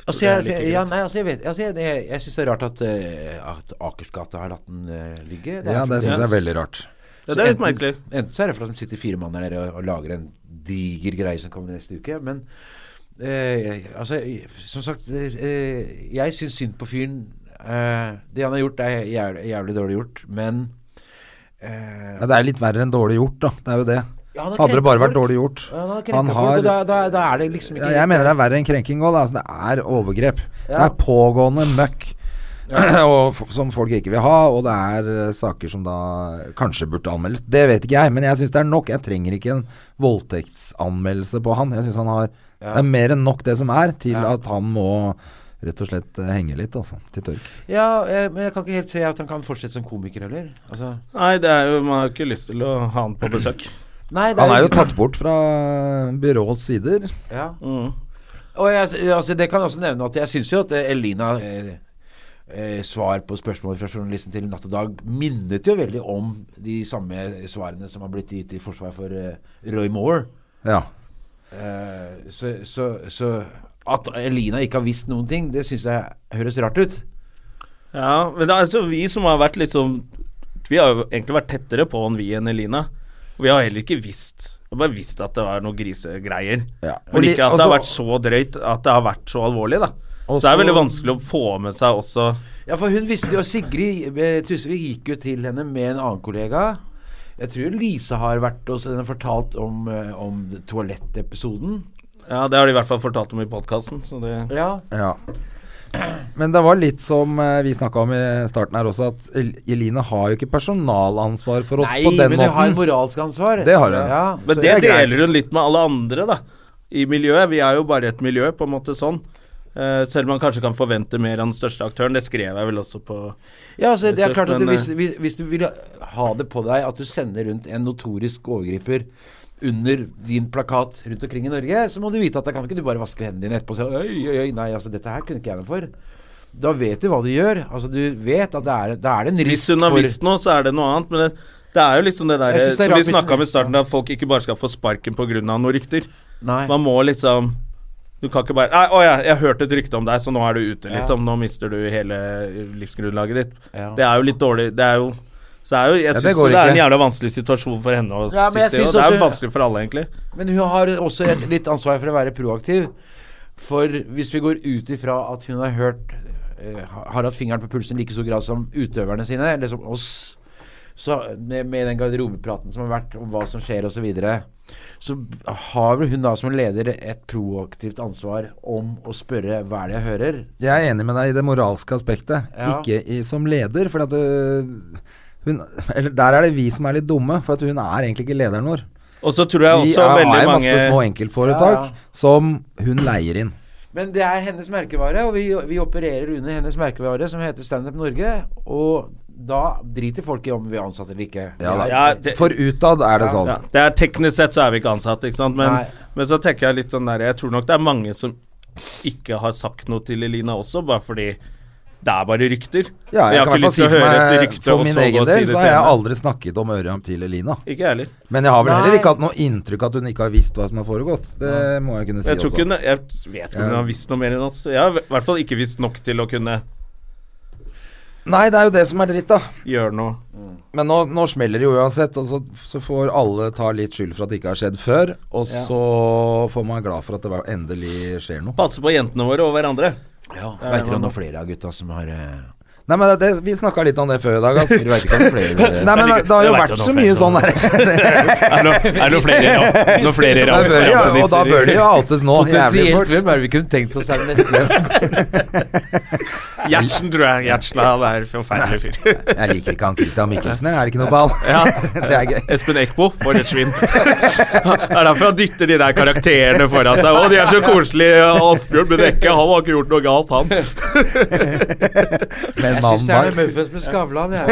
C: Altså, jeg, jeg, ja, nei, altså, jeg, vet- altså, jeg, jeg, jeg syns det er rart at, eh, at Akersgata har latt den eh, ligge. er
A: Ja, det
C: fordi-
A: syns jeg er veldig rart.
B: ja det er litt merkelig.
C: Enten så er det fordi de sitter fire mann der nede og, og lager en diger greie som kommer neste uke, men eh, altså, jeg- Som sagt, eh, jeg syns synd på fyren. Eh, det han har gjort, er jævlig, jævlig dårlig gjort, men eh,
A: Ja, det er litt verre enn dårlig gjort, da. Det er jo det.
C: ja, han har
A: Hadde det bare vært
C: krenket folk.
A: dårlig gjort
C: Ja, han har
A: Han
C: krenket folk, og da,
A: har
C: da, da er det liksom ikke
A: ja, Jeg mener det er verre enn krenking òg. Altså, det er overgrep. Det
C: Ja.
A: er pågående møkk. og, f- som folk ikke vil ha, og det er eh, saker som da kanskje burde anmeldes. Det vet ikke jeg, men jeg syns det er nok. Jeg trenger ikke en voldtektsanmeldelse på han. Jeg synes han har Det er mer enn nok det som er, til
C: Ja.
A: at han må rett og slett eh, henge litt, altså. Til tørk.
C: Ja, eh, men jeg kan ikke helt se at han kan fortsette som komiker heller. Altså,
B: Nei, det er jo, man har jo ikke lyst til å ha han på besøk.
C: nei, det
A: Han er jo tatt bort fra byråets sider.
C: Ja. Og jeg, altså, det kan jeg også nevne at jeg syns jo at eh, Elina eh, eh, svar på spørsmål fra journalisten til Natt og Dag minnet jo veldig om de samme svarene som har blitt gitt i forsvar for eh, Roy Moore.
A: Ja.
C: Eh, så, så, så at Elina ikke har visst noen ting, det syns jeg høres rart ut.
B: Ja, men det er altså vi som har vært liksom Vi har jo egentlig vært tettere på han vi enn Elina. Vi har heller ikke visst Vi har bare visst at det var noe grisegreier.
A: Ja. altså- Og
B: Men
A: li-
B: ikke at det har
A: og
B: vært så drøyt at det har vært så alvorlig, da.
A: Og
B: så det er
A: så-
B: veldig vanskelig å få med seg også
C: Ja, for hun visste jo Sigrid eh, Tusvik gikk jo til henne med en annen kollega. Jeg tror Lise har vært hos henne og fortalt om, eh, om toalettepisoden.
B: Ja, det har de i hvert fall fortalt om i podkasten, så det
C: Ja.
A: Ja. Men det var litt som eh, vi snakka om i starten her også, at El- Eline har jo ikke personalansvar for oss
C: Nei,
A: på den
C: men hun har
A: måten.
C: moralsk ansvar.
A: Det har hun.
C: Ja,
B: Men det
C: så-
A: det er greit.
B: deler hun litt med alle andre, da. I miljøet. Vi er jo bare et miljø, på en måte sånn. Eh, selv om man kanskje kan forvente mer av den største aktøren. Det skrev jeg vel også på
C: ja altså, det er klart at
B: Men,
C: hvis, hvis, hvis du vil ha det på deg at du sender rundt en notorisk overgriper under din plakat rundt omkring i Norge, så må du vite at da kan ikke du bare vaske hendene dine etterpå og si Oi, oi, oi, nei, altså dette her kunne ikke jeg noe for. Da vet du hva du gjør. Altså Du vet at det er, da er det en
B: Hvis
C: risk
B: hun har
C: for
B: visst noe, så er det noe annet. Men det, Det er jo liksom det der
C: Jeg synes det er
B: som
C: rart
B: vi
C: hvis-
B: snakka om i starten, at folk ikke bare skal få sparken pga. noen rykter.
C: Nei.
B: Man må liksom Du kan ikke bare Nei, å ja, jeg hørte et rykte om deg, så nå er du ute,
C: Ja.
B: liksom. Nå mister du hele livsgrunnlaget ditt.
C: Ja.
B: Det er jo litt dårlig Det er jo så det er jo, jeg
A: det
B: synes
A: går
B: det, er en
A: ikke.
B: jævla vanskelig situasjon for henne å
C: Ja, men jeg
B: sitte i. Og
C: synes
B: det er jo
C: også-
B: vanskelig for alle, egentlig.
C: Men hun har også et litt ansvar for å være proaktiv. For hvis vi går ut ifra at hun har hørt eh, ha- Har hatt fingeren på pulsen i like stor grad som utøverne sine, eller som oss, så med, med den garderobepraten som har vært om hva som skjer osv., så, videre, så har vel hun da som leder et proaktivt ansvar om å spørre hva er det jeg hører?
A: Jeg er enig med deg i det moralske aspektet,
C: Ja.
A: ikke i, som leder. For at øh, hun Eller der er det vi som er litt dumme, for at hun er egentlig ikke lederen vår.
B: Og så tror jeg
A: Vi
B: også
A: er, har jo
B: veldig mange
A: masse små enkeltforetak
C: Ja, ja.
A: som hun leier inn.
C: Men det er hennes merkevare, og vi, vi opererer under hennes merkevare, som heter Standup Norge. Og da driter folk i om vi er ansatt eller ikke.
A: Ja, da.
B: Ja, det-
A: For utad er det sånn.
B: ja, det er Teknisk sett så er vi ikke ansatt, ikke sant. Men,
C: Nei.
B: men så tenker jeg litt sånn der Jeg tror nok det er mange som ikke har sagt noe til Elina også, bare fordi det er bare rykter.
A: Ja,
B: jeg,
A: jeg,
B: har
A: kan i
B: ikke
A: hvert
B: lyst til å
A: fall si
B: høre et
A: for meg,
B: rykte
A: for
B: og
A: min
B: så gå
A: egen
B: og si
A: del så
B: det til
A: har jeg
B: henne.
A: aldri snakket om Ørjan til Elina.
B: Ikke jeg heller.
A: Men jeg har vel
C: Nei.
A: heller ikke hatt noe inntrykk at hun ikke har visst hva som har foregått. Det må jeg kunne si
B: Jeg, tror
A: også.
B: ikke hun, jeg vet ikke om hun har visst noe mer enn oss. Jeg har i hvert fall ikke visst nok til å kunne
A: Nei, det er jo det som er dritt, da.
B: gjøre noe.
A: Men nå, nå smeller det jo uansett, og så, så får alle ta litt skyld for at det ikke har skjedd før. Og så får man være glad for at det var- endelig skjer noe.
B: Passe på jentene våre og hverandre.
C: Ja,
B: Det er noe
C: Veit dere om
B: nå.
C: noen flere av gutta som har eh,
A: Nei, men det, det, Vi snakka litt om det før i dag. At,
C: Dere vet ikke om flere
A: nei, men det, det har jo
B: Jeg vet
A: vært
B: jo
A: så
B: noe
A: mye
B: feil
A: sånn
B: nå.
A: der.
B: Er det noen flere, ja. noen flere
A: Det bør jo, og da bør det jo outes nå. Jævlig
C: Potensielt
A: fort.
C: hvem er det vi kunne tenkt oss er det neste?
B: Gjertsen, tror jeg. Gjertsla han er en forferdelig fyr.
A: Jeg liker ikke han Christian Michelsen, jeg. Er det ikke noe ball?
B: Ja.
A: Det er gøy.
B: Espen Eckbo, for et svin. Det er derfor han dytter de der karakterene foran seg. Å, de er så koselige. Asbjørn Bedekke, han har ikke gjort noe galt, han.
A: Med en
C: Jeg syns det
A: mann
C: er noe
A: bak.
C: Muffins med Skavlan, jeg.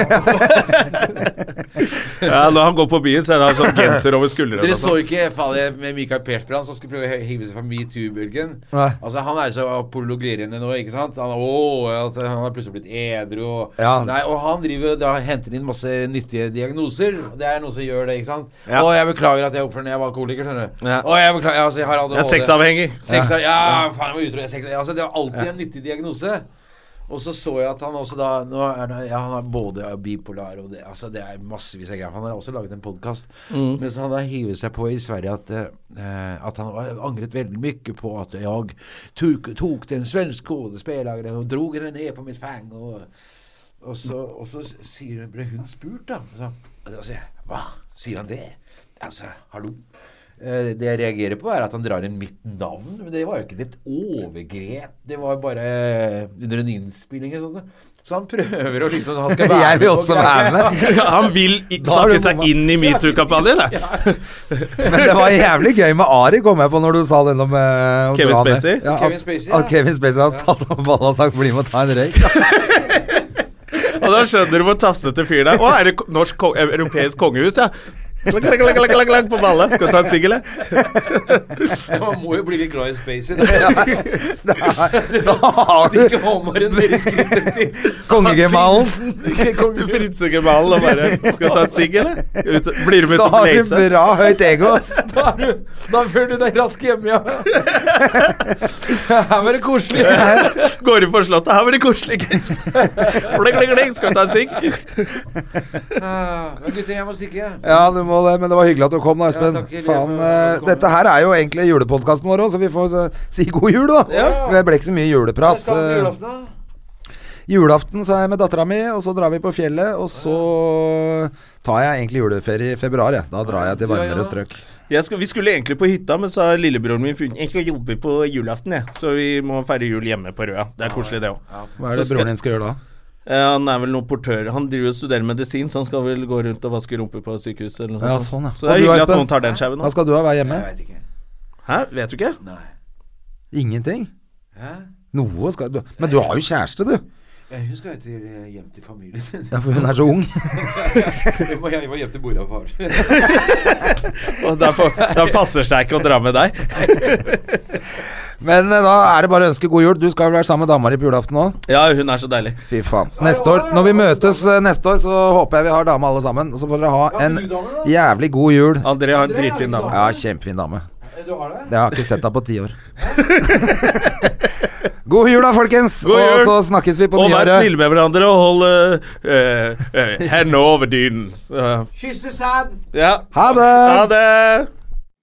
B: Ja, når han går på byen, så er det sånn genser over skuldrene.
C: Dere
B: og
C: så
B: sånn.
C: ikke fallet med Mikael Persbrandt som skulle prøve å he- hive seg fra metoo-bølgen?
A: Nei.
C: Altså, han er jo så apologerende nå, ikke sant? Han, å, altså, han har plutselig blitt edru og
A: Ja.
C: Nei, og han driver da henter inn masse nyttige diagnoser. og Det er noen som gjør det, ikke sant?
B: Ja.
C: Å, jeg beklager at jeg oppførte meg når jeg var alkoholiker, skjønner du.
B: Ja.
C: Å, jeg beklager, altså, jeg har ADHD.
B: Jeg er sexavhengig.
C: Sex, ja. faen, jeg må utro. jeg er Sex, altså, det var alltid en nyttig diagnose. Og så så jeg at han også da nå er det, ja, Han er både bipolar og det Altså, det er massevis av greier. Han har også laget en podkast. Mens han da hivet seg på i Sverige at, eh, at han var- angret veldig mye på at jeg tok, tok den svenske skådespilleren og drog henne ned på mitt fang. Og, og, så, og så sier, ble hun spurt, da. Så, og da sier jeg Hva? Sier han det? Altså, hallo? Eh, Det jeg reagerer på, er at han drar inn mitt navn. Men det var jo ikke et overgrep. Det var bare eh, under en innspilling eller sånt. Så han prøver å liksom Han skal være
A: Jeg vil
C: på
A: også
C: greia.
A: være med.
B: Han vil i-
A: Da har du
B: snakke seg
A: bomma.
B: inn i metoo-kampanjen, det.
A: Men det var jævlig gøy med Ari, kom jeg på når du sa den om eh, å
B: Kevin
A: dra ned.
B: Spacey?
A: Ja,
C: Kevin
A: at,
C: Spacey,
A: at
C: ja.
A: Kevin Spacey hadde tatt opp balla og sagt 'bli med og ta en røyk'.
B: Og da skjønner du hvor tafsete fyr det er. Å, er det ko- norsk, ko- eh, europeisk kongehus, ja? Klakk, klakk, klakk, klakk, klakk, på balle. Skal du ta en sigel, eller?
C: Man må jo bli litt glad i Spacey. Da.
A: Da har du
C: Ikke håndmaren deres skritt til.
A: kongegemalen.
B: Du frinsegemalen og bare Skal du ta en sigg, eller? Ut, blir du med
A: Da
B: ut og
A: har du
B: blaze?
A: bra høyt ego. ass.
C: Da, er du- da føler du deg raskt hjemme, ja. Her var det koselig.
B: Går inn på Slottet, her var det koselig, gitt. Bling, bling, bling, skal vi ta en sigg?
C: Ah, Men gutter, jeg må stikke.
A: Ja, du må det, men det var hyggelig at du kom, da, Espen.
C: takk, hyggelig
A: Faen,
C: for at du
A: eh,
C: kom.
A: dette her er jo egentlig julepodkasten vår òg, så vi får eh, si god jul, da. Det ble ikke så mye
C: Hva
A: juleprat.
C: skal du på
A: eh,
C: julaften, da?
A: Julaften så er jeg med dattera mi, og så drar vi på fjellet. Og så tar jeg egentlig juleferie i februar, jeg. Da drar jeg til
C: Ja, ja,
A: varmere
C: ja.
A: strøk.
B: Jeg skal, vi skulle egentlig på hytta, men så har lillebroren min funnet Jeg skal jobbe på julaften, jeg. Så vi må feire jul hjemme på Røa. Det er koselig, det òg.
A: Hva er det
B: Så skal-
A: broren din skal gjøre da?
B: han er vel noen portør. Han driver og studerer medisin, så han skal vel gå rundt og vaske rumper på sykehuset eller noe
A: Ja,
B: sånt.
A: sånn, ja.
B: Så
A: Og
B: det er
A: du,
B: hyggelig at
A: Espen?
B: noen tar den sjauen
A: Hva
B: nå.
A: skal du ha? Være hjemme?
C: Jeg veit ikke.
B: Hæ, vet du ikke?
C: Nei.
A: Ingenting?
C: Hæ?
A: Noe skal du Men du har jo kjæreste, du.
C: Jeg husker jeg til eh, hjem til familien sin.
A: Ja, for hun er så ung.
C: Jeg må jeg må hjem til mora og far.
B: Og derfor, da passer det seg ikke å dra med deg.
A: Men eh, da er det bare å ønske god jul. Du skal vel være sammen med dama di på julaften nå?
B: Ja, hun er så deilig.
A: Fy faen. Neste år, når vi møtes eh, neste år, så håper jeg vi har dame alle sammen. Og så får dere ha en jævlig god jul.
B: André har en dritfin dame.
A: Ja, kjempefin dame.
B: Eh,
A: Jeg har ikke sett deg på ti år. God jul, da, folkens!
B: God jul.
A: Og så snakkes vi på
B: Og vær
A: nyåret.
B: snille med hverandre og hold eh, eh, hendene over dynen. Uh, Ja.
A: Ha det!
B: Ha det!